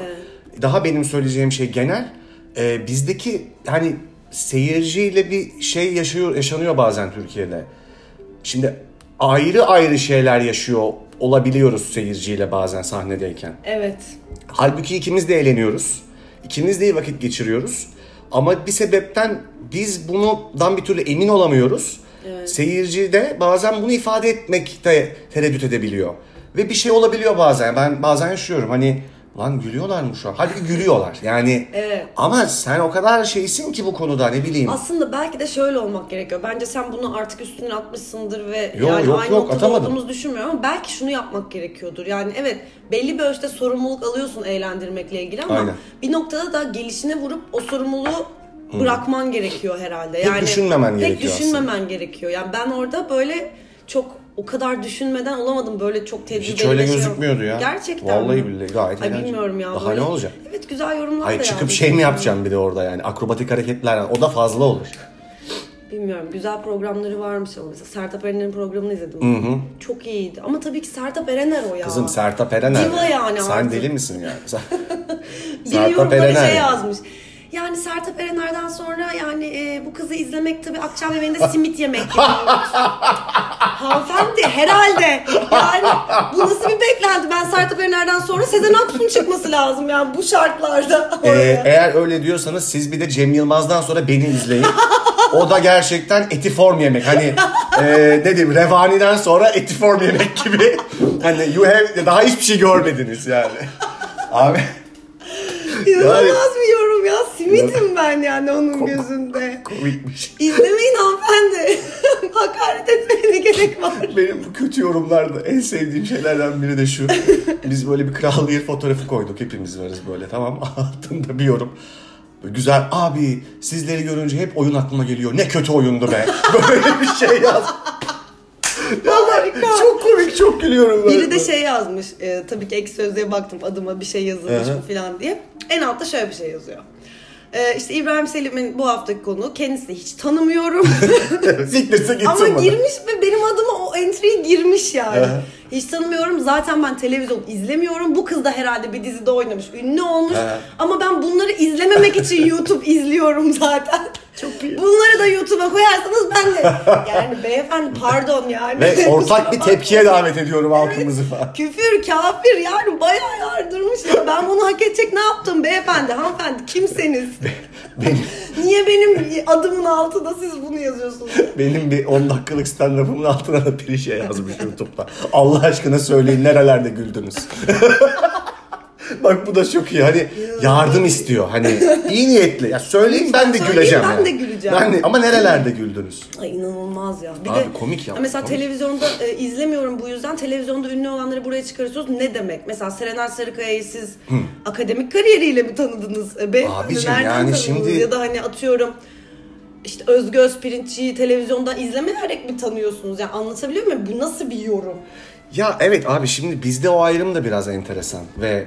S2: Daha benim söyleyeceğim şey genel. e, bizdeki hani seyirciyle bir şey yaşıyor yaşanıyor bazen Türkiye'de. Şimdi ayrı ayrı şeyler yaşıyor olabiliyoruz seyirciyle bazen sahnedeyken.
S1: Evet.
S2: Halbuki ikimiz de eğleniyoruz. İkimiz de iyi vakit geçiriyoruz. Ama bir sebepten biz bundan bir türlü emin olamıyoruz. Seyirci de bazen bunu ifade etmekte tereddüt edebiliyor. Ve bir şey olabiliyor bazen. Ben bazen yaşıyorum hani lan gülüyorlar mı şu an? Halbuki gülüyorlar. Yani ama sen o kadar şeysin ki bu konuda ne bileyim.
S1: Aslında belki de şöyle olmak gerekiyor. Bence sen bunu artık üstüne atmışsındır ve
S2: Yo,
S1: yani
S2: yok,
S1: aynı
S2: yok,
S1: noktada
S2: atamadım.
S1: olduğumuzu düşünmüyorum ama belki şunu yapmak gerekiyordur. Yani evet belli bir ölçüde sorumluluk alıyorsun eğlendirmekle ilgili ama
S2: Aynen.
S1: bir noktada da gelişine vurup o sorumluluğu bırakman gerekiyor herhalde. Yani
S2: düşünmemen
S1: pek
S2: gerekiyor
S1: düşünmemen gerekiyor. Yani ben orada böyle çok o kadar düşünmeden olamadım. Böyle çok tecrübeli
S2: Hiç öyle
S1: de şey-
S2: gözükmüyordu ya.
S1: Gerçekten
S2: Vallahi
S1: mi?
S2: billahi gayet
S1: Ay
S2: eğlenceli.
S1: bilmiyorum ya.
S2: Daha
S1: böyle-
S2: ne olacak?
S1: Evet güzel yorumlar
S2: Hayır
S1: da
S2: çıkıp
S1: yazmış.
S2: şey mi yapacağım bir de orada yani akrobatik hareketler o da fazla olur.
S1: Bilmiyorum güzel programları varmış ama mesela Sertab Erener'in programını izledim. Çok iyiydi ama tabii ki Sertab Erener o ya.
S2: Kızım Sertab Erener.
S1: Diva yani
S2: Sen
S1: artık.
S2: deli misin yani? Sen-
S1: Biri
S2: Sertab
S1: yorumlara
S2: Erener.
S1: şey yazmış. Yani Sertab Erener'den sonra yani e, bu kızı izlemek tabii akşam yemeğinde simit yemek. yani.
S2: [laughs]
S1: Hanımefendi herhalde. Yani bu nasıl bir beklenti? Ben Sertab Erener'den sonra Sezen Aksu'nun çıkması lazım yani bu şartlarda.
S2: Ee, eğer öyle diyorsanız siz bir de Cem Yılmaz'dan sonra beni izleyin. O da gerçekten eti form yemek. Hani e, ne diyeyim revaniden sonra eti form yemek gibi. Hani you have daha hiçbir şey görmediniz yani. Abi
S1: İnanılmaz bir yorum ya. Simitim ben yani onun gözünde.
S2: komikmiş.
S1: İzlemeyin hanımefendi. [laughs] Hakaret etmeye ne gerek var?
S2: Benim bu kötü yorumlarda en sevdiğim şeylerden biri de şu. Biz böyle bir kral yer fotoğrafı koyduk. Hepimiz varız böyle tamam mı? [laughs] Altında bir yorum. Böyle Güzel abi sizleri görünce hep oyun aklıma geliyor. Ne kötü oyundu be. [laughs] Böyle bir şey yaz. Ya ben
S1: Harika.
S2: çok komik çok gülüyorum. ben.
S1: Biri de şey yazmış. e, tabii ki ek sözlüğe baktım adıma bir şey yazılmış
S2: Hı hı.
S1: mı falan diye. En altta şöyle bir şey yazıyor. E, işte İbrahim Selim'in bu haftaki konuğu kendisini hiç tanımıyorum. [laughs]
S2: Siktirse gitsin
S1: Ama
S2: bana.
S1: girmiş ve benim adıma o entry girmiş yani.
S2: Hı hı.
S1: Hiç tanımıyorum. Zaten ben televizyon izlemiyorum. Bu kız da herhalde bir dizide oynamış. Ünlü olmuş.
S2: Hı.
S1: Ama ben bunları izlememek için YouTube izliyorum zaten. Çok iyi. Bunları da YouTube'a koyarsanız ben de yani beyefendi pardon yani.
S2: Ve ortak bir tepkiye davet ediyorum halkımızı
S1: [laughs]
S2: falan.
S1: Küfür, kafir yani bayağı yardırmış. Ya. Ben bunu hak edecek ne yaptım beyefendi, hanımefendi kimseniz? Niye benim adımın altında siz bunu yazıyorsunuz?
S2: Benim bir 10 dakikalık stand-up'ımın altına da bir şey yazmış YouTube'da. Allah aşkına söyleyin nerelerde güldünüz. [laughs] Bak bu da çok iyi. Hani yardım istiyor. Hani iyi niyetli. Ya söyleyin ben de
S1: Söyleyin,
S2: güleceğim.
S1: ben
S2: yani.
S1: de güleceğim.
S2: Ben de- ama nerelerde güldünüz?
S1: Ay inanılmaz ya. Bir
S2: Abi
S1: de
S2: komik ya,
S1: Mesela
S2: komik.
S1: televizyonda e, izlemiyorum bu yüzden televizyonda ünlü olanları buraya çıkarıyorsunuz. Ne demek? Mesela Serenay Sarıkaya'yı siz akademik kariyeriyle mi tanıdınız? E, beyefendi
S2: Abicim,
S1: nereden
S2: yani
S1: tanıdınız?
S2: şimdi-
S1: Ya da hani atıyorum işte Özgü Özpirinççi'yi televizyonda izlemeyerek mi tanıyorsunuz? Yani anlatabiliyor muyum? Bu nasıl bir yorum?
S2: Ya evet abi şimdi bizde o ayrım da biraz enteresan. Ve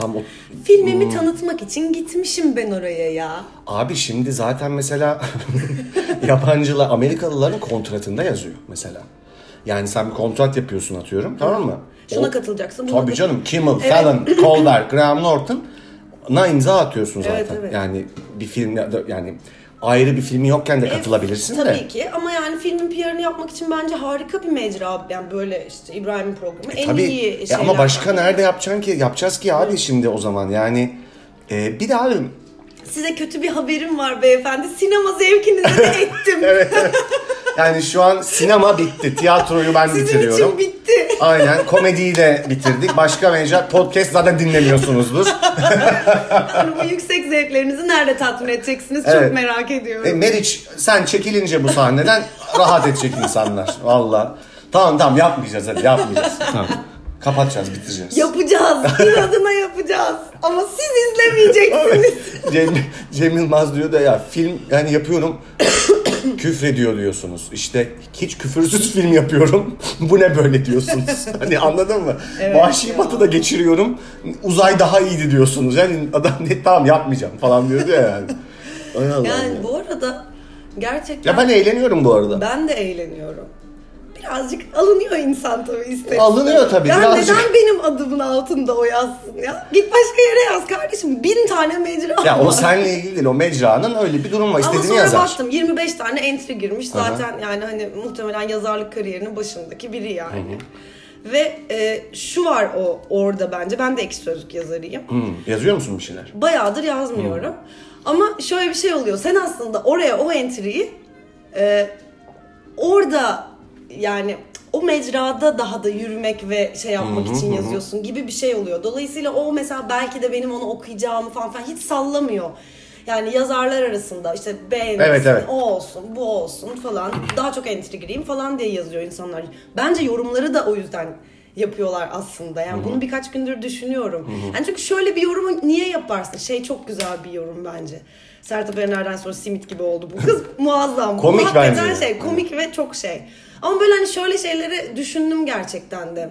S2: tam o...
S1: Filmimi
S2: Hmm.
S1: tanıtmak için gitmişim ben oraya ya.
S2: Abi şimdi zaten mesela [laughs] yabancılar, Amerikalıların kontratında yazıyor mesela. Yani sen bir kontrat yapıyorsun atıyorum tamam mı?
S1: Şuna
S2: O-
S1: katılacaksın. buna
S2: Tabii
S1: katıl-
S2: canım Kimmel, Fallon, Colbert, Graham Norton'a imza atıyorsun zaten.
S1: Evet, evet.
S2: Yani bir filmde yani ayrı bir filmi yokken de katılabilirsin de.
S1: Tabii ki ama yani filmin PR'ını yapmak için bence harika bir mecra abi. Yani böyle işte İbrahim'in programı en
S2: Tabii.
S1: iyi
S2: E
S1: şeyler.
S2: ama başka nerede yapacaksın ki? Yapacağız ki abi şimdi o zaman yani. E, bir de abi
S1: Size kötü bir haberim var beyefendi. Sinema
S2: [laughs]
S1: zevkinizi de ettim.
S2: yani şu an sinema bitti. Tiyatroyu ben
S1: Sizin için
S2: bitiriyorum.
S1: bitti.
S2: Aynen komediyi de bitirdik. Başka mecra podcast zaten dinlemiyorsunuzdur.
S1: Yani bu yüksek zevklerinizi nerede tatmin edeceksiniz
S2: Evet.
S1: çok merak ediyorum.
S2: E, Meriç sen çekilince bu sahneden rahat edecek insanlar. Valla. Tamam tamam yapmayacağız hadi yapmayacağız. Tamam. Kapatacağız bitireceğiz. [laughs]
S1: Yapacağız. İnadına yapacağız. Ama siz izlemeyeceksiniz.
S2: Cem, Cem Yılmaz diyor da ya film yani yapıyorum [coughs] küfrediyor diyorsunuz. İşte hiç küfürsüz film yapıyorum. [laughs] bu ne
S1: [laughs]
S2: böyle diyorsunuz. Hani anladın mı?
S1: Evet
S2: Vahşi
S1: ya.
S2: Batı'da geçiriyorum. Uzay daha iyiydi diyorsunuz. Yani adam ne tamam yapmayacağım falan diyordu ya yani. Ay Allah'ım ya.
S1: yani bu arada gerçekten
S2: Ya ben eğleniyorum bu arada.
S1: ben de eğleniyorum. Birazcık alınıyor insan tabii ister.
S2: Alınıyor tabii,
S1: Ya
S2: birazcık.
S1: neden benim adımın altında o yazsın ya? Git başka yere yaz kardeşim. Bin tane mecra
S2: Ya o
S1: var.
S2: seninle ilgili değil. O mecranın öyle bir durum
S1: Ama
S2: var. İstediğini
S1: sonra
S2: yazar.
S1: baktım 25 tane entry girmiş.
S2: Aha.
S1: Zaten yani hani muhtemelen yazarlık kariyerinin başındaki biri yani. Ve e, şu var o orada bence. Ben de ekşi sözlük yazarıyım.
S2: Hı, Hmm, yazıyor musun bir şeyler?
S1: Bayağıdır yazmıyorum. Ama şöyle bir şey oluyor. Sen aslında oraya o entry'yi e, orada yani o mecrada daha da yürümek ve şey yapmak için yazıyorsun gibi bir şey oluyor. Dolayısıyla o mesela belki de benim onu okuyacağımı falan filan hiç sallamıyor. Yani yazarlar arasında işte beğenilsin,
S2: Evet, evet.
S1: o olsun, bu olsun falan. Daha çok entry gireyim falan diye yazıyor insanlar. Bence yorumları da o yüzden yapıyorlar aslında. Yani bunu birkaç gündür düşünüyorum. Yani çünkü şöyle bir yorumu niye yaparsın? Şey çok güzel bir yorum bence. Sertab Erener'den sonra simit gibi oldu bu kız. [laughs] Muazzam. Bu
S2: Komik
S1: hakikaten
S2: bence.
S1: şey, komik ve çok şey. Ama böyle hani şöyle şeyleri düşündüm gerçekten de.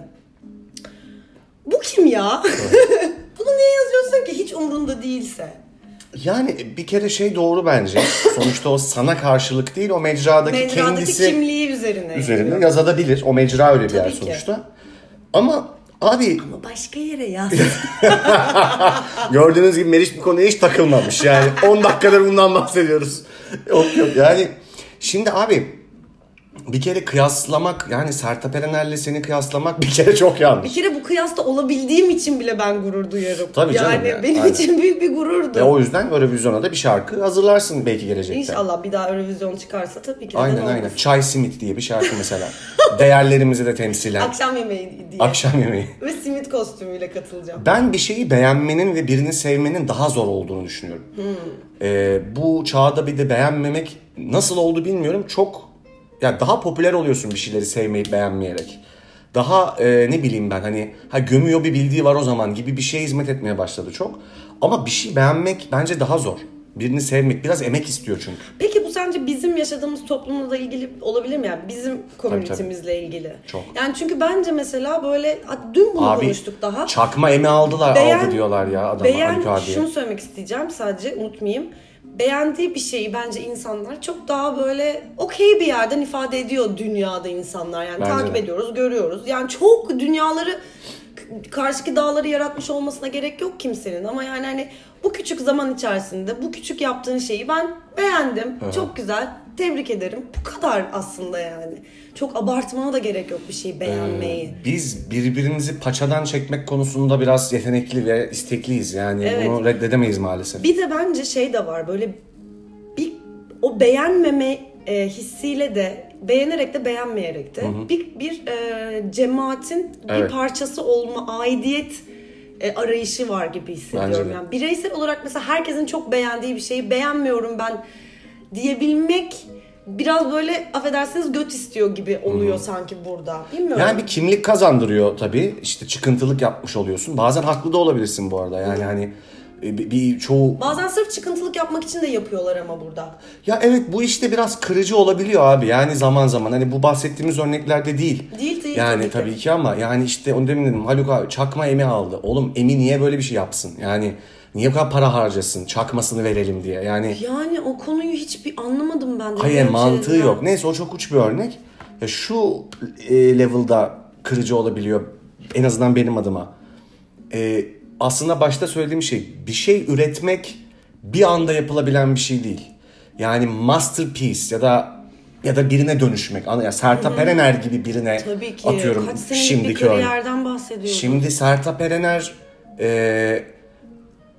S1: [laughs] Bu kim ya? Bunu niye yazıyorsun ki hiç umrunda değilse?
S2: Yani bir kere şey doğru bence. Sonuçta o sana karşılık değil o mecradaki,
S1: Mecradaki
S2: kendisi
S1: kimliği üzerine.
S2: üzerinde yazabilir. O mecra öyle bir yer
S1: Tabii ki.
S2: sonuçta. Ama abi
S1: Başka yere yaz.
S2: gördüğünüz gibi Meriç bu konuya hiç takılmamış.
S1: [laughs]
S2: Yani 10 dakikadır bundan bahsediyoruz. Yok yok yani şimdi abi bir kere kıyaslamak yani Sertab Erener'le seni kıyaslamak bir kere çok yanlış.
S1: bir kere bu kıyasta olabildiğim için bile ben gurur duyarım.
S2: Tabii canım
S1: yani
S2: ya,
S1: benim
S2: aynen.
S1: için büyük bir gururdu.
S2: Ve o yüzden Eurovision'a da bir şarkı hazırlarsın belki gelecekte.
S1: İnşallah bir daha Eurovision çıkarsa tabii ki. neden
S2: Aynen
S1: olmasın?
S2: aynen. Çay simit diye bir şarkı mesela. Değerlerimizi de temsilen.
S1: Akşam yemeği diye.
S2: Akşam yemeği.
S1: Ve simit kostümüyle katılacağım.
S2: Ben bir şeyi beğenmenin ve birini sevmenin daha zor olduğunu düşünüyorum.
S1: Hmm.
S2: Ee, bu çağda bir de beğenmemek nasıl oldu bilmiyorum. Çok ya daha popüler oluyorsun bir şeyleri sevmeyip beğenmeyerek. Daha e, ne bileyim ben hani ha gömüyor bir bildiği var o zaman gibi bir şeye hizmet etmeye başladı çok. Ama bir şey beğenmek bence daha zor. Birini sevmek biraz emek istiyor çünkü.
S1: Peki bu sence bizim yaşadığımız toplumla da ilgili olabilir mi? Yani bizim komünitemizle ilgili.
S2: Çok.
S1: Yani çünkü bence mesela böyle ha, dün bunu konuştuk daha.
S2: çakma emi aldılar
S1: Beğen-
S2: aldı diyorlar ya adama
S1: Beğen,
S2: Haluk abiye.
S1: şunu söylemek isteyeceğim sadece unutmayayım. Beğendiği bir şeyi bence insanlar çok daha böyle okey bir yerden ifade ediyor dünyada insanlar. Yani
S2: Bence
S1: takip
S2: de.
S1: ediyoruz, görüyoruz. Yani çok dünyaları k- karşıki dağları yaratmış olmasına gerek yok kimsenin ama yani hani bu küçük zaman içerisinde bu küçük yaptığın şeyi ben beğendim. Çok güzel. Tebrik ederim. Bu kadar aslında yani. Çok abartmana da gerek yok bir şeyi
S2: Ee,
S1: beğenmeyi.
S2: Biz birbirimizi paçadan çekmek konusunda biraz yetenekli ve istekliyiz. Yani
S1: Evet.
S2: bunu reddedemeyiz maalesef.
S1: Bir de bence şey de var böyle bir o beğenmeme e, hissiyle de beğenerek de beğenmeyerek de bir bir e, cemaatin bir
S2: Evet.
S1: parçası olma aidiyet e, arayışı var gibi hissediyorum.
S2: Bence de.
S1: Yani bireysel olarak mesela herkesin çok beğendiği bir şeyi beğenmiyorum ben diyebilmek biraz böyle affedersiniz göt istiyor gibi oluyor sanki burada. Bilmiyorum.
S2: Yani bir kimlik kazandırıyor tabii. İşte çıkıntılık yapmış oluyorsun. Bazen haklı da olabilirsin bu arada. Yani hani e, bir, bir çoğu...
S1: Bazen sırf çıkıntılık yapmak için de yapıyorlar ama burada.
S2: Ya evet bu işte biraz kırıcı olabiliyor abi. Yani zaman zaman hani bu bahsettiğimiz örneklerde değil.
S1: Değil, değil,
S2: Yani
S1: tabii ki.
S2: tabii, ki ama yani işte onu demin dedim Haluk abi çakma emi aldı. Oğlum emi niye böyle bir şey yapsın? Yani niye bu kadar para harcasın? Çakmasını verelim diye. Yani
S1: Yani o konuyu hiçbir anlamadım ben. de.
S2: Hayır
S1: Böyle
S2: mantığı
S1: şeyler.
S2: yok. Neyse o çok uç bir örnek. Ya şu e, level'da kırıcı olabiliyor. En azından benim adıma. E, aslında başta söylediğim şey bir şey üretmek bir anda yapılabilen bir şey değil. Yani masterpiece ya da ya da birine dönüşmek. Ana- Ya Sertab Erener gibi birine
S1: Tabii ki.
S2: atıyorum
S1: Kaç senelik bir
S2: şimdiki örnek.
S1: kariyerden bahsediyoruz.
S2: Şimdi Sertab Erener e,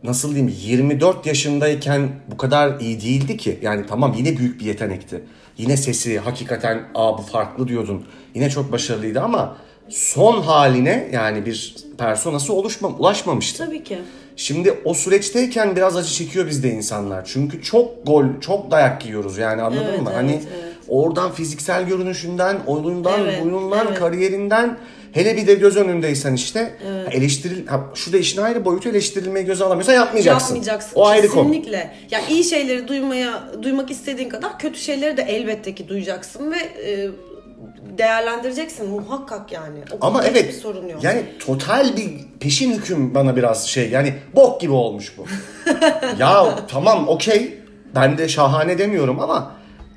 S2: nasıl diyeyim 24 yaşındayken bu kadar iyi değildi ki. Yani tamam yine büyük bir yetenekti. Yine sesi hakikaten aa bu farklı diyordun. Yine çok başarılıydı ama son haline yani bir personası oluşma, ulaşmamıştı.
S1: Tabii ki.
S2: Şimdi o süreçteyken biraz acı çekiyor bizde insanlar. Çünkü çok gol, çok dayak yiyoruz yani anladın
S1: Evet,
S2: mı?
S1: evet,
S2: hani
S1: evet.
S2: oradan fiziksel görünüşünden, oyunundan,
S1: Evet,
S2: buyunundan,
S1: evet.
S2: kariyerinden hele bir de göz önündeysen işte eleştiril ha, şu da işin ayrı boyutu eleştirilmeyi göze alamıyorsan yapmayacaksın.
S1: Yapmayacaksın.
S2: O ayrı konu.
S1: Kesinlikle. Ya iyi şeyleri duymaya duymak istediğin kadar kötü şeyleri de elbette ki duyacaksın ve e, değerlendireceksin muhakkak yani. O
S2: Ama
S1: konuda
S2: evet
S1: hiçbir sorun yok.
S2: yani total bir peşin hüküm bana biraz şey yani bok gibi olmuş
S1: [laughs]
S2: bu. ya tamam okey ben de şahane demiyorum ama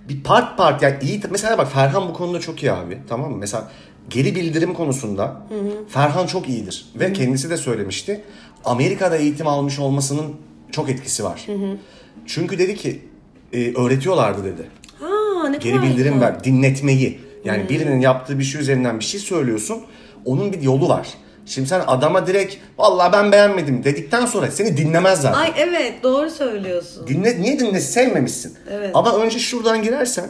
S2: bir part part yani iyi mesela bak Ferhan bu konuda çok iyi abi tamam mı? Mesela geri bildirim konusunda Ferhan çok iyidir ve kendisi de söylemişti. Amerika'da eğitim almış olmasının çok etkisi var. Çünkü dedi ki e, öğretiyorlardı dedi
S1: ha ne
S2: geri
S1: kadar
S2: bildirim
S1: güzel.
S2: ver, dinletmeyi. Yani birinin yaptığı bir şey üzerinden bir şey söylüyorsun. Onun bir yolu var. Şimdi sen adama direkt vallahi ben beğenmedim dedikten sonra seni dinlemez zaten.
S1: Ay evet doğru söylüyorsun.
S2: Dinle, niye dinlesin? Sevmemişsin.
S1: Evet.
S2: Ama önce şuradan girersen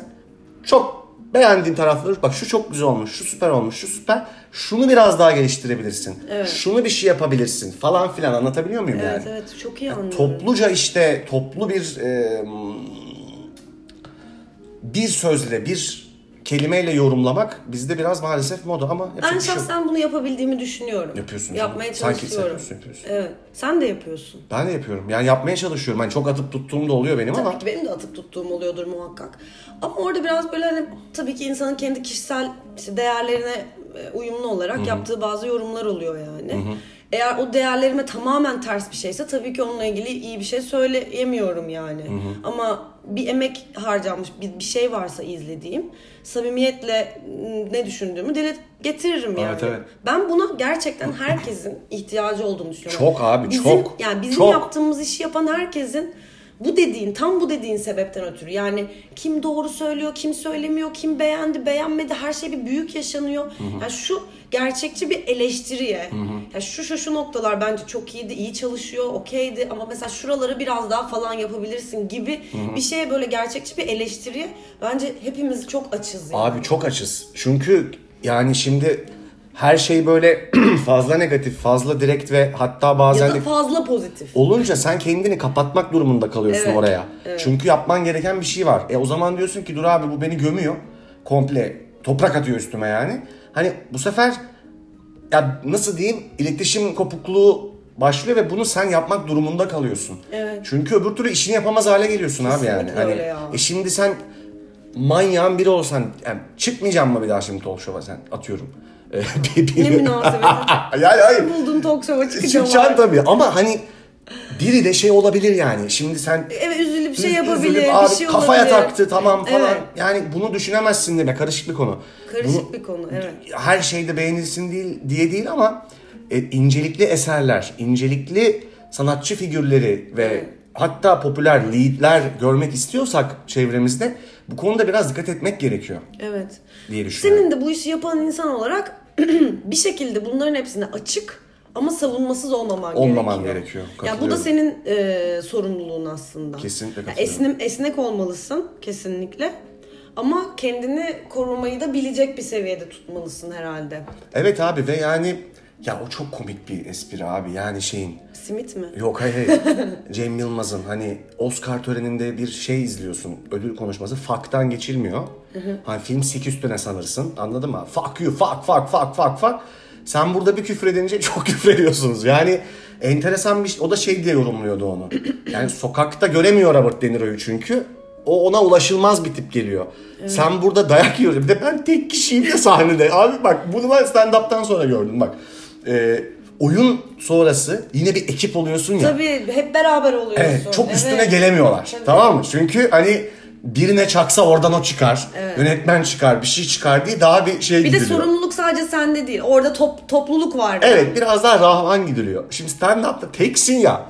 S2: çok beğendiğin tarafları bak şu çok güzel olmuş, şu süper olmuş, şu süper. Şunu biraz daha geliştirebilirsin. Şunu bir şey yapabilirsin falan filan anlatabiliyor muyum yani?
S1: evet evet çok iyi anlıyorum.
S2: topluca işte toplu bir e, bir sözle bir kelimeyle yorumlamak bizde biraz maalesef moda ama yapacak
S1: ben
S2: bir şey yok.
S1: şahsen bunu yapabildiğimi düşünüyorum.
S2: Yapıyorsun canım.
S1: Yapmaya
S2: Sanki sen
S1: çalışıyorum.
S2: yapıyorsun, yapıyorsun.
S1: Evet. Sen de yapıyorsun.
S2: Ben de yapıyorum. Yani yapmaya çalışıyorum. Hani çok atıp tuttuğum da oluyor benim ama
S1: Tabii ki benim de atıp tuttuğum oluyordur muhakkak. Ama orada biraz böyle hani tabii ki insanın kendi kişisel işte değerlerine e, uyumlu olarak yaptığı bazı yorumlar oluyor yani. Eğer o değerlerime tamamen ters bir şeyse tabii ki onunla ilgili iyi bir şey söyleyemiyorum yani. Ama bir emek harcanmış bir, bir şey varsa izlediğim samimiyetle m, ne düşündüğümü dile getiririm yani.
S2: evet.
S1: Ben buna gerçekten
S2: [laughs]
S1: herkesin ihtiyacı olduğunu düşünüyorum.
S2: Çok abi,
S1: Bizim-
S2: çok.
S1: Yani bizim
S2: Çok.
S1: yaptığımız işi yapan herkesin bu dediğin tam bu dediğin sebepten ötürü yani kim doğru söylüyor kim söylemiyor kim beğendi beğenmedi her şey bir büyük yaşanıyor. Yani şu gerçekçi bir eleştiriye yani şu şu şu noktalar bence çok iyiydi iyi çalışıyor okeydi ama mesela şuraları biraz daha falan yapabilirsin gibi bir şeye böyle gerçekçi bir eleştiriye bence hepimiz çok açız. Yani.
S2: Abi çok açız. Çünkü yani şimdi her şey böyle [clears throat] fazla negatif, fazla direkt ve hatta bazen
S1: ya da
S2: de
S1: fazla pozitif.
S2: olunca sen kendini kapatmak durumunda kalıyorsun
S1: Evet,
S2: oraya. Çünkü yapman gereken bir şey var. E o zaman diyorsun ki dur abi bu beni gömüyor. Komple toprak atıyor üstüme yani. Hani bu sefer ya nasıl diyeyim iletişim kopukluğu başlıyor ve bunu sen yapmak durumunda kalıyorsun.
S1: Evet.
S2: Çünkü öbür türlü işini yapamaz hale geliyorsun abi yani.
S1: Kesinlikle öyle ya.
S2: E şimdi sen manyağın biri olsan yani çıkmayacaksın mı bir daha şimdi talk show'a sen atıyorum. E, [laughs] bir- bir-
S1: Ne münasebet. [laughs]
S2: yani [laughs] hayır.
S1: Buldun talk show'a çıkacağım.
S2: Çıkacaksın tabii ama hani biri de şey olabilir yani. Şimdi sen
S1: Evet üzülüp şey
S2: Üz-
S1: yapabilir,
S2: üzülüp,
S1: bir
S2: abi
S1: şey
S2: kafaya
S1: olabilir.
S2: taktı tamam falan.
S1: Evet.
S2: Yani bunu düşünemezsin deme. Karışık bir konu.
S1: Karışık
S2: Bunu
S1: bir konu evet.
S2: her şeyde beğenilsin değil, diye değil ama e, incelikli eserler, incelikli sanatçı figürleri ve hatta popüler leadler görmek istiyorsak çevremizde bu konuda biraz dikkat etmek gerekiyor
S1: Evet.
S2: diye düşünüyorum.
S1: Senin de bu işi yapan insan olarak [clears throat] bir şekilde bunların hepsine açık ama savunmasız olmaman gerekiyor.
S2: Olmaman gerekiyor,
S1: Ya bu da
S2: katılıyorum.
S1: senin e, sorumluluğun aslında.
S2: Kesinlikle
S1: Ya
S2: katılıyorum.
S1: esnim, esnek olmalısın kesinlikle. Ama kendini korumayı da bilecek bir seviyede tutmalısın herhalde.
S2: Evet abi ve yani ya o çok komik bir espri abi yani şeyin.
S1: Simit mi?
S2: [laughs] Yok hayır hayır. Cem Yılmaz'ın hani Oscar töreninde bir şey izliyorsun. Ödül konuşması faktan geçilmiyor. hani film sik üstüne sanırsın. Anladın mı? Fuck you, fuck, fuck, fuck, fuck, fuck. Sen burada bir küfür edince [laughs] çok küfür ediyorsunuz. Yani enteresan bir şey. O da şey diye yorumluyordu onu. Yani sokakta göremiyor Robert De Niro'yu çünkü. O ona ulaşılmaz bir tip geliyor. Sen burada dayak yiyorsun. Bir de ben tek kişiyim ya sahnede. Abi bak bunu ben stand-up'tan sonra gördüm bak. Ee, oyun sonrası yine bir ekip oluyorsun ya.
S1: Tabii hep beraber oluyorsun.
S2: Evet, çok üstüne
S1: Evet.
S2: gelemiyorlar.
S1: Tabii.
S2: Tamam mı? Çünkü hani birine çaksa oradan o çıkar. Yönetmen çıkar, bir şey çıkar diye daha bir şey
S1: Bir de
S2: gidiliyor.
S1: sorumluluk sadece sende değil. Orada top, topluluk var.
S2: Evet biraz daha rahvan gidiliyor. Şimdi stand-up'ta teksin ya.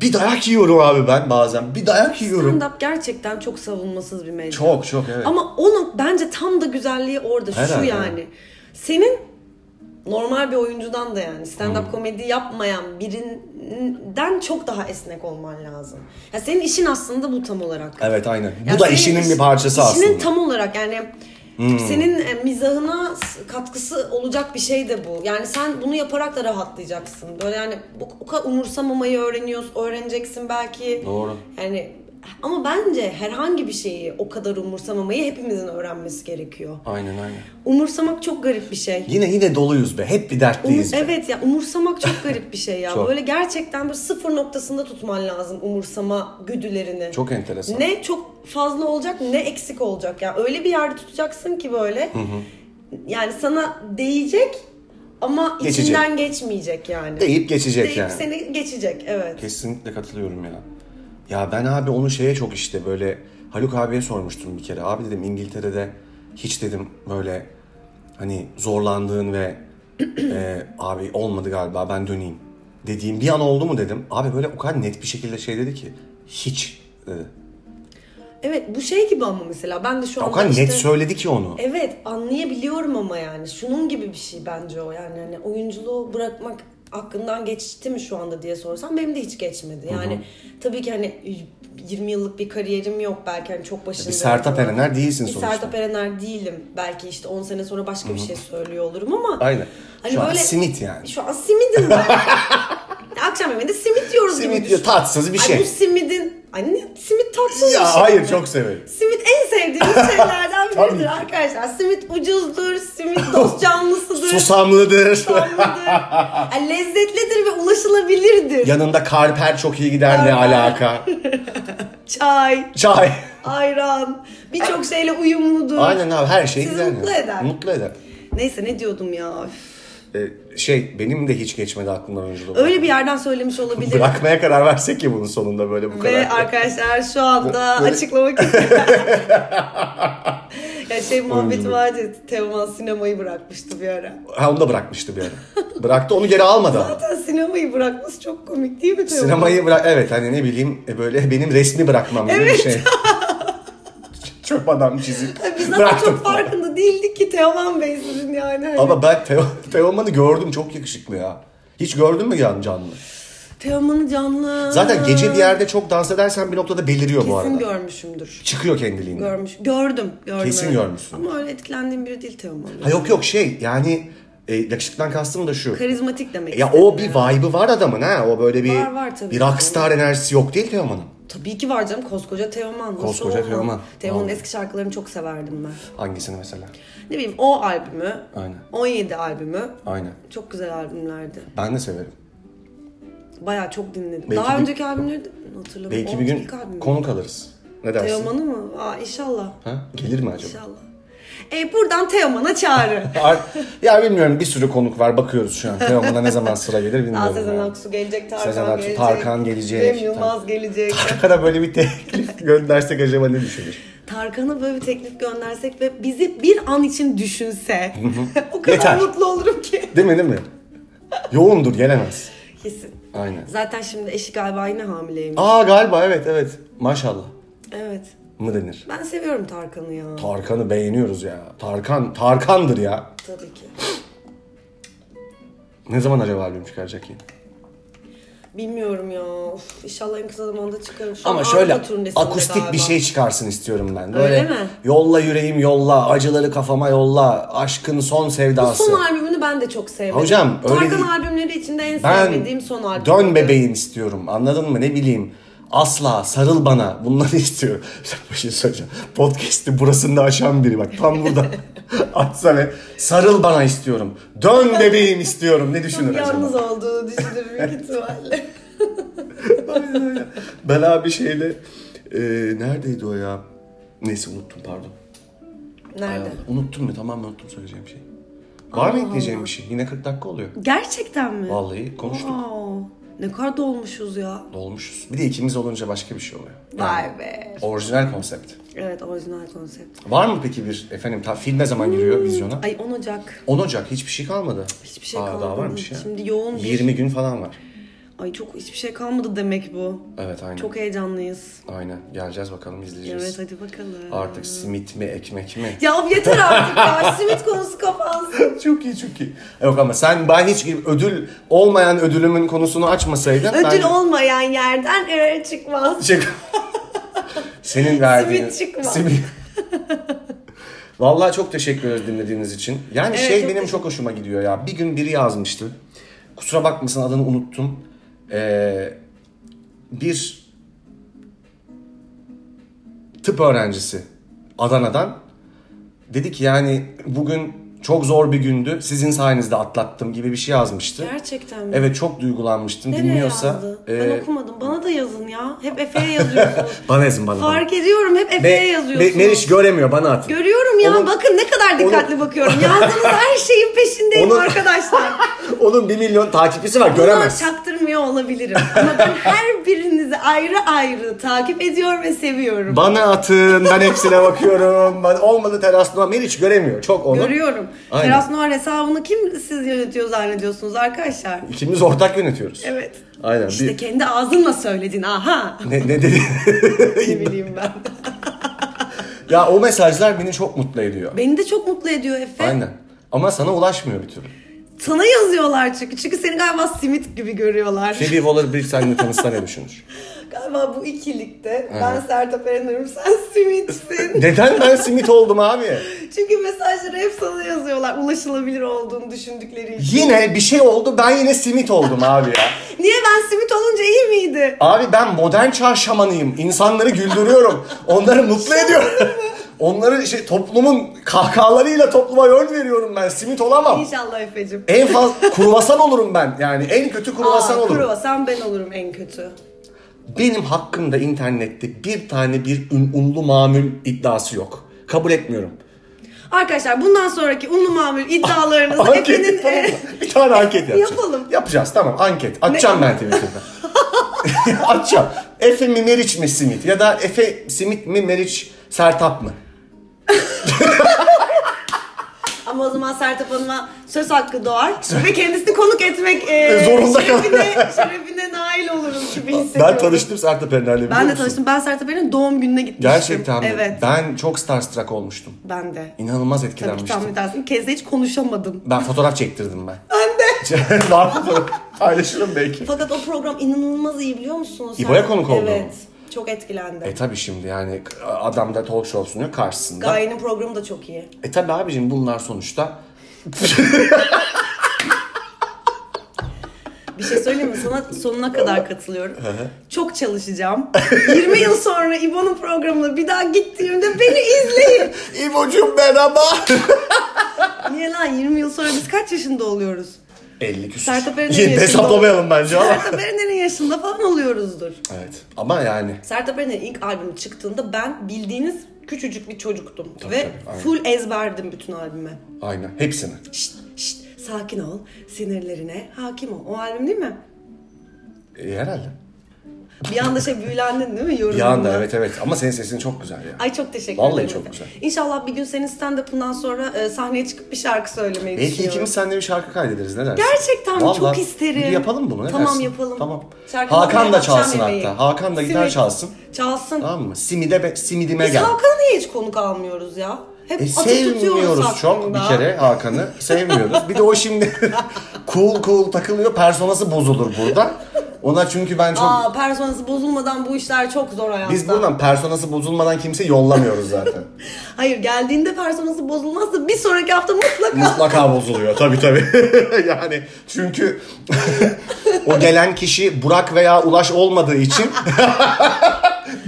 S2: Bir dayak yiyorum abi ben bazen. Bir dayak yiyorum.
S1: Stand-up gerçekten çok savunmasız bir mecra.
S2: Çok çok evet.
S1: Ama onun bence tam da güzelliği orada
S2: Herhalde.
S1: şu yani. Senin normal bir oyuncudan da yani stand up komedi yapmayan birinden çok daha esnek olman lazım. Ya senin işin aslında bu tam olarak.
S2: Evet aynen. Bu
S1: Ya
S2: da
S1: senin
S2: işinin
S1: iş-
S2: bir parçası
S1: İşinin
S2: aslında. Hmm.
S1: tam olarak yani senin e, mizahına s- katkısı olacak bir şey de bu. Yani sen bunu yaparak da rahatlayacaksın. Böyle yani bu o kadar umursamamayı öğreniyorsun, öğreneceksin belki.
S2: Doğru.
S1: Yani ama bence herhangi bir şeyi o kadar umursamamayı hepimizin öğrenmesi gerekiyor.
S2: Aynen aynen.
S1: Umursamak çok garip bir şey.
S2: Yine yine doluyuz be. Hep bir
S1: Umu-
S2: dertliyiz be.
S1: evet ya umursamak çok garip bir şey ya.
S2: [laughs] Çok.
S1: Böyle gerçekten böyle sıfır noktasında tutman lazım umursama güdülerini.
S2: Çok enteresan.
S1: Ne çok fazla olacak ne eksik olacak ya. Öyle bir yerde tutacaksın ki böyle. Yani sana değecek ama
S2: Geçecek.
S1: içinden geçmeyecek yani.
S2: Deyip geçecek
S1: Deyip
S2: yani.
S1: seni geçecek evet.
S2: Kesinlikle katılıyorum ya. Ya ben abi onu şeye çok işte böyle Haluk abiye sormuştum bir kere. Abi dedim İngiltere'de hiç dedim böyle hani zorlandığın ve [clears throat] e, abi olmadı galiba ben döneyim dediğim bir an oldu mu dedim. Abi böyle o kadar net bir şekilde şey dedi ki hiç e, dedi.
S1: Evet bu şey gibi ama mesela ben de şu
S2: O
S1: anda
S2: kadar
S1: işte...
S2: net söyledi ki onu.
S1: Evet anlayabiliyorum ama yani şunun gibi bir şey bence o yani hani oyunculuğu bırakmak hakkından geçti mi şu anda diye sorsam benim de hiç geçmedi. Yani tabii ki hani 20 yıllık bir kariyerim yok belki hani çok başında.
S2: Bir Sertab
S1: falan.
S2: Erener değilsin
S1: Bir
S2: sonuçta.
S1: Sertab Erener değilim. Belki işte 10 sene sonra başka bir şey söylüyor olurum ama.
S2: Aynen.
S1: Hani
S2: Şu an
S1: böyle-
S2: simit yani.
S1: Şu an simidim
S2: [laughs]
S1: ben. Akşam yemeğinde simit yiyoruz gibi
S2: Simit
S1: düşün.
S2: tatsız bir
S1: Ay bu
S2: şey.
S1: simidin... Anne simit tatsız bir şey.
S2: Ya hayır
S1: mi?
S2: çok severim.
S1: Simit en
S2: [laughs]
S1: sevdiğimiz şeylerden
S2: Tabii
S1: biridir
S2: ki.
S1: arkadaşlar. Simit ucuzdur, simit
S2: [laughs]
S1: dost canlısıdır,
S2: Susamlıdır. [laughs]
S1: susamlıdır, yani lezzetlidir ve ulaşılabilirdir.
S2: Yanında karper çok iyi gider ne alaka.
S1: Çay,
S2: Çay.
S1: ayran, birçok şeyle uyumludur.
S2: Aynen abi her şey
S1: Sizi
S2: güzel.
S1: mutlu eder.
S2: Mutlu eder.
S1: Neyse ne diyordum ya. üf.
S2: e, şey benim de hiç geçmedi aklımdan oyunculuğu.
S1: Öyle bir yerden söylemiş olabilirim.
S2: Bırakmaya karar versek ya bunun sonunda böyle bu
S1: Ve
S2: kadar.
S1: arkadaşlar şu anda
S2: Böyle- [laughs]
S1: açıklamak istiyorum. ya şey muhabbeti
S2: Oyunculuk.
S1: vardı. Teoman sinemayı bırakmıştı bir ara.
S2: Ha onu da bırakmıştı bir ara. Bıraktı onu geri almadı. ama.
S1: Zaten sinemayı bırakması çok komik değil mi Teoman?
S2: Sinemayı bırak evet hani ne bileyim e, böyle benim resmi bırakmam gibi
S1: [laughs]
S2: bir şey. Çöp adam çizip
S1: Biz zaten
S2: bıraktım.
S1: çok farkında değildik ki Teoman Bey sizin yani. Hani
S2: Ama ben Teo, Teoman'ı gördüm çok yakışıklı ya. Hiç gördün mü yan canlı?
S1: Teoman'ı canlı.
S2: Zaten gece bir yerde çok dans edersen bir noktada beliriyor bu arada.
S1: Kesin görmüşümdür.
S2: Çıkıyor kendiliğinden.
S1: Görmüş. Gördüm. gördüm
S2: Kesin
S1: evet.
S2: görmüşsün.
S1: Ama öyle etkilendiğim biri değil Teoman.
S2: Ha yok yok şey yani e, yakışıklıdan kastım da şu.
S1: Karizmatik demek.
S2: Ya
S1: istedim
S2: o bir vibe'ı var adamın ha. O böyle bir
S1: Var, var tabii.
S2: bir rockstar enerjisi yok değil Teoman'ın.
S1: Tabii ki var canım. Koskoca Teoman. Nasıl
S2: Koskoca
S1: olmaz?
S2: Teoman.
S1: Teoman'ın
S2: Vallahi.
S1: eski şarkılarını çok severdim ben.
S2: Hangisini mesela?
S1: Ne bileyim o albümü.
S2: Aynen.
S1: 17 albümü.
S2: Aynen.
S1: Çok güzel albümlerdi.
S2: Ben de severim.
S1: Bayağı çok dinledim.
S2: Belki
S1: Daha
S2: bir-
S1: önceki albümleri de hatırlamıyorum.
S2: Belki
S1: O
S2: bir gün
S1: ilk albüm.
S2: konuk alırız. Ne dersin?
S1: Teoman'ı mı? Aa inşallah.
S2: Ha? Gelir mi acaba?
S1: İnşallah. E buradan Teoman'a
S2: [laughs]
S1: çağrı.
S2: Ar- ya bilmiyorum bir sürü konuk var bakıyoruz şu an. Teoman'a ne zaman sıra gelir
S1: Aa,
S2: bilmiyorum.
S1: Sezen
S2: yani. [laughs]
S1: Aksu gelecek, Tarkan
S2: Sezen Aksu,
S1: gelecek.
S2: Tarkan gelecek.
S1: Cem Yılmaz gelecek.
S2: Tarkan'a böyle bir teklif göndersek acaba ne düşünür?
S1: Tarkan'a böyle bir teklif göndersek ve bizi bir an için düşünse [laughs] o kadar
S2: Yeter.
S1: mutlu olurum ki.
S2: Değil mi değil mi? Yoğundur gelemez.
S1: Kesin.
S2: Aynen.
S1: Zaten şimdi eşi galiba yine hamileymiş.
S2: Aa galiba evet evet. Maşallah
S1: Evet.
S2: mı denir?
S1: Ben seviyorum Tarkan'ı ya.
S2: Tarkan'ı beğeniyoruz ya. Tarkan, Tarkan'dır ya.
S1: Tabii ki.
S2: Ne zaman acaba albüm çıkaracak ki?
S1: Bilmiyorum ya. Of, inşallah en kısa zamanda çıkarım. Şu an
S2: Ama
S1: Avrupa
S2: şöyle
S1: turnesinde
S2: akustik
S1: galiba.
S2: bir şey çıkarsın istiyorum ben. Böyle
S1: Öyle mi?
S2: yolla yüreğim yolla, acıları kafama yolla, aşkın son sevdası.
S1: Son albümünü ben de çok sevmedim.
S2: Hocam, öyle
S1: Tarkan
S2: değil.
S1: albümleri içinde en
S2: ben
S1: sevmediğim son albüm.
S2: dön bebeğim istiyorum. Anladın mı? Ne bileyim. Asla sarıl bana. Bunları [laughs] istiyorum. Sen bir şey söyleyeceğim. Podcast'i burasında aşan biri bak.
S1: [laughs]
S2: Tam burada. Atsa ve sarıl bana istiyorum. Dön bebeğim istiyorum. Ne düşünür acaba?
S1: Yalnız olduğunu düşünür büyük
S2: [laughs]
S1: ihtimalle.
S2: Ben abi şeyle e, neredeydi o ya? Neyse unuttum pardon.
S1: Nerede?
S2: Unuttum ya tamamen unuttum söyleyeceğim şey. Var mı ekleyeceğim bir şey? Yine 40 dakika oluyor.
S1: Gerçekten mi?
S2: Vallahi konuştuk.
S1: Aa, ne kadar dolmuşuz ya.
S2: Dolmuşuz. Bir de ikimiz olunca başka bir şey oluyor.
S1: Vay be.
S2: Orijinal konsept.
S1: Evet orijinal konsept.
S2: Var mı peki bir efendim ta film ne zaman giriyor vizyona?
S1: Ay 10 Ocak.
S2: 10 Ocak hiçbir şey kalmadı.
S1: Hmm. Hiçbir şey
S2: Aa,
S1: kalmadı.
S2: Daha varmış ya.
S1: Şimdi yoğun bir- şey.
S2: 20 gün falan var.
S1: Ay çok hiçbir şey kalmadı demek bu.
S2: Evet aynen.
S1: Çok heyecanlıyız.
S2: Aynen. Geleceğiz bakalım izleyeceğiz.
S1: Evet hadi bakalım.
S2: Artık simit mi ekmek mi?
S1: Ya of yeter artık
S2: [laughs]
S1: ya. Simit konusu kapansın.
S2: çok iyi çok iyi. Yok ama sen ben hiç ödül olmayan ödülümün konusunu açmasaydın. ben-
S1: Ödül olmayan yerden eğer
S2: [laughs]
S1: çıkmaz.
S2: Çık. Senin verdiğin.
S1: Simit çıkma.
S2: Vallahi çok teşekkür ederiz dinlediğiniz için. Yani
S1: Evet, çok
S2: şey benim
S1: teşekkür-
S2: çok hoşuma gidiyor ya. Bir gün biri yazmıştı. Kusura bakmasın adını unuttum. Ee, bir tıp öğrencisi Adana'dan dedi ki yani bugün çok zor bir gündü. Sizin sayenizde atlattım gibi bir şey yazmıştı.
S1: Gerçekten mi?
S2: Evet çok duygulanmıştım.
S1: Nereye
S2: Dinliyorsa
S1: yazdı?
S2: e, [laughs]
S1: Ben okumadım. Bana da yazın ya. Hep Efe'ye yazıyorsunuz.
S2: bana yazın bana. bana.
S1: Fark ediyorum hep
S2: Be-
S1: Efe'ye
S2: Be-
S1: yazıyorsunuz.
S2: Meriç göremiyor bana at.
S1: Görüyorum ya
S2: Onun-
S1: bakın ne kadar dikkatli
S2: [laughs]
S1: bakıyorum. Yazdığınız her şeyin peşindeyim
S2: Onun- [laughs]
S1: arkadaşlar.
S2: Onun 1 milyon takipçisi var
S1: Göremez.
S2: göremez.
S1: çaktırmıyor olabilirim. Ama ben her birinizi ayrı ayrı takip ediyor ve seviyorum.
S2: Bana atın ben hepsine bakıyorum. Ben olmadı terasına Meriç göremiyor. Çok onu.
S1: Görüyorum.
S2: Aynen.
S1: Teras Noir hesabını kim siz yönetiyor zannediyorsunuz arkadaşlar?
S2: İkimiz ortak yönetiyoruz.
S1: Evet.
S2: Aynen.
S1: İşte
S2: Bir-
S1: kendi ağzınla söyledin
S2: [laughs]
S1: aha.
S2: ne, ne dedi?
S1: ne bileyim ben.
S2: ya o mesajlar beni çok mutlu ediyor.
S1: Beni de çok mutlu ediyor Efe.
S2: Aynen. Ama sana ulaşmıyor bir türlü.
S1: Sana yazıyorlar çünkü. Çünkü seni galiba simit gibi görüyorlar.
S2: Phoebe Waller-Bridge'le tanışsa ne
S1: [laughs]
S2: düşünür?
S1: Galiba bu ikilikte ben Sertab Erener'im sen simitsin.
S2: Neden ben simit oldum abi?
S1: Çünkü mesajları hep sana yazıyorlar ulaşılabilir olduğunu düşündükleri için.
S2: Yine bir şey oldu ben yine simit oldum abi ya.
S1: Niye ben simit olunca iyi miydi?
S2: Abi ben modern çağ şamanıyım. İnsanları güldürüyorum. Onları mutlu
S1: [laughs]
S2: ediyorum. Onları şey toplumun kahkahalarıyla topluma yön veriyorum ben. Simit olamam.
S1: İnşallah Efe'cim.
S2: En fazla kruvasan olurum ben. Yani en kötü kruvasan
S1: Aa,
S2: olurum.
S1: kruvasan ben olurum en kötü.
S2: Benim hakkımda internette bir tane bir un- unlu mamül iddiası yok. Kabul etmiyorum.
S1: Arkadaşlar bundan sonraki unlu mamül iddialarınızı
S2: [laughs] Anketi
S1: Efe'nin e,
S2: tanımla. bir tane anket yapacağız.
S1: Yapalım.
S2: Yapacağız tamam anket. Açacağım
S1: [laughs]
S2: ben Twitter'da. Açacağım. Efe mi Meriç mi Simit? Ya da Efe Simit mi Meriç Sertap mı?
S1: [laughs] Ama o zaman Sertap Hanım'a söz hakkı doğar ve kendisini konuk etmek e,
S2: [laughs] Zorunda kalır.
S1: şerefine, [laughs] şerefine nail olurum gibi hissediyorum.
S2: Ben tanıştım Sertap Erener'le biliyor
S1: Ben de
S2: musun?
S1: tanıştım. Ben Sertap Erener'in doğum gününe gitmiştim.
S2: Gerçekten mi?
S1: Evet.
S2: Ben çok starstruck olmuştum.
S1: Ben de.
S2: İnanılmaz
S1: Tabii ki
S2: etkilenmiştim.
S1: tahmin edersin. Kezde hiç konuşamadım.
S2: Ben fotoğraf
S1: [laughs]
S2: çektirdim ben. Ben [laughs] de. Var mı fotoğraf? Paylaşırım belki.
S1: Fakat o program inanılmaz iyi biliyor musunuz?
S2: İbo'ya
S1: Sertap-
S2: konuk oldu.
S1: Evet. Çok etkilendim.
S2: E tabi şimdi yani adam da talk show sunuyor karşısında.
S1: Gaye'nin programı da çok iyi.
S2: E tabi abicim bunlar sonuçta
S1: Bir şey söyleyeyim mi? Sana
S2: [laughs]
S1: sonuna kadar katılıyorum. Çok çalışacağım. 20 yıl sonra İbo'nun programına bir daha gittiğimde beni izleyin.
S2: İbo'cum merhaba. [laughs]
S1: Niye lan 20 yıl sonra biz kaç yaşında oluyoruz?
S2: 50 küsur.
S1: Sertab Erener'in
S2: Yine de
S1: yaşında-
S2: hesaplamayalım bence
S1: [laughs]
S2: ama.
S1: Sertab Erener'in yaşında falan oluyoruzdur.
S2: evet ama yani.
S1: Sertab Erener'in ilk albümü çıktığında ben bildiğiniz küçücük bir çocuktum. Ve
S2: tabii, aynen.
S1: full ezberdim bütün albümü.
S2: Aynen hepsini.
S1: Şşt şşt sakin ol, sinirlerine hakim ol. O albüm değil mi?
S2: E, herhalde.
S1: Bir anda şey büyülendin değil mi
S2: Bir
S1: yorumunda?
S2: anda evet evet ama senin sesin çok güzel ya.
S1: Ay çok teşekkür
S2: Vallahi
S1: ederim.
S2: çok güzel.
S1: İnşallah bir gün senin stand-up'ından sonra e, sahneye çıkıp bir şarkı söylemeyi
S2: Belki
S1: düşünüyorum.
S2: ikimiz seninle bir şarkı kaydederiz ne dersin?
S1: Gerçekten
S2: Vallahi
S1: çok isterim.
S2: Bir yapalım bunu ne
S1: Tamam
S2: dersin?
S1: yapalım.
S2: Tamam.
S1: Şarkı
S2: Hakan
S1: yapalım,
S2: da çalsın
S1: akşam yemeği.
S2: hatta. Hakan da gider
S1: Simit.
S2: çalsın.
S1: Çalsın.
S2: Tamam mı? Simide be, simidime
S1: Biz
S2: gel.
S1: Hakan'ı niye hiç konuk almıyoruz ya? Hep
S2: E,
S1: atıp
S2: sevmiyoruz
S1: tutuyoruz
S2: çok
S1: hakkında.
S2: bir kere Hakan'ı sevmiyoruz. Bir de o şimdi [laughs] cool cool takılıyor personası bozulur burada. Ona çünkü ben çok
S1: Aa personası bozulmadan bu işler çok zor hayatta.
S2: Biz buradan personası bozulmadan kimse yollamıyoruz zaten.
S1: Hayır geldiğinde personası bozulmazsa bir sonraki hafta
S2: [laughs]
S1: mutlaka.
S2: Mutlaka bozuluyor tabii tabii. [laughs] yani çünkü [laughs] o gelen kişi Burak veya Ulaş olmadığı için [laughs]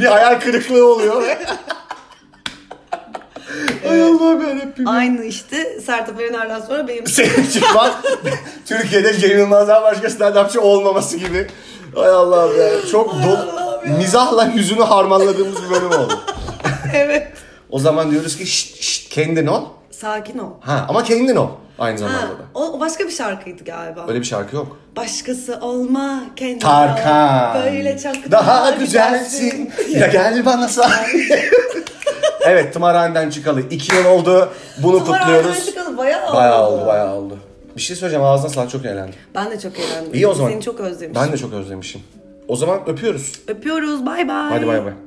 S2: bir hayal kırıklığı oluyor. [laughs] Ay Allah'ım yarabbim.
S1: Aynı işte Sertab Erener'den sonra benim [laughs]
S2: Senin çıkman Türkiye'de Cem Yılmaz'dan başka stand-upçı olmaması gibi. Ay Allah'ım ya. Çok do- mizahla yüzünü harmanladığımız bir bölüm oldu.
S1: evet.
S2: O zaman diyoruz ki şşt şşt kendin ol.
S1: Sakin ol.
S2: Ha ama kendin ol aynı
S1: Ha,
S2: zamanda da.
S1: o o başka bir şarkıydı galiba.
S2: Öyle bir şarkı yok.
S1: Başkası olma kendin
S2: Tarkan.
S1: ol. Böyle çok
S2: daha güzelsin. ya gel bana say.
S1: [laughs]
S2: evet tımarhaneden çıkalı. iki yıl oldu. Bunu kutluyoruz.
S1: Kutluyoruz. Bayağı,
S2: Bayağı oldu bayağı oldu. Bir şey söyleyeceğim ağzına sağlık çok eğlendim.
S1: Ben de çok eğlendim.
S2: İyi o zaman.
S1: Seni çok özlemişim.
S2: Ben de çok özlemişim. O zaman öpüyoruz.
S1: Öpüyoruz. Bay bay.
S2: Hadi bay bay.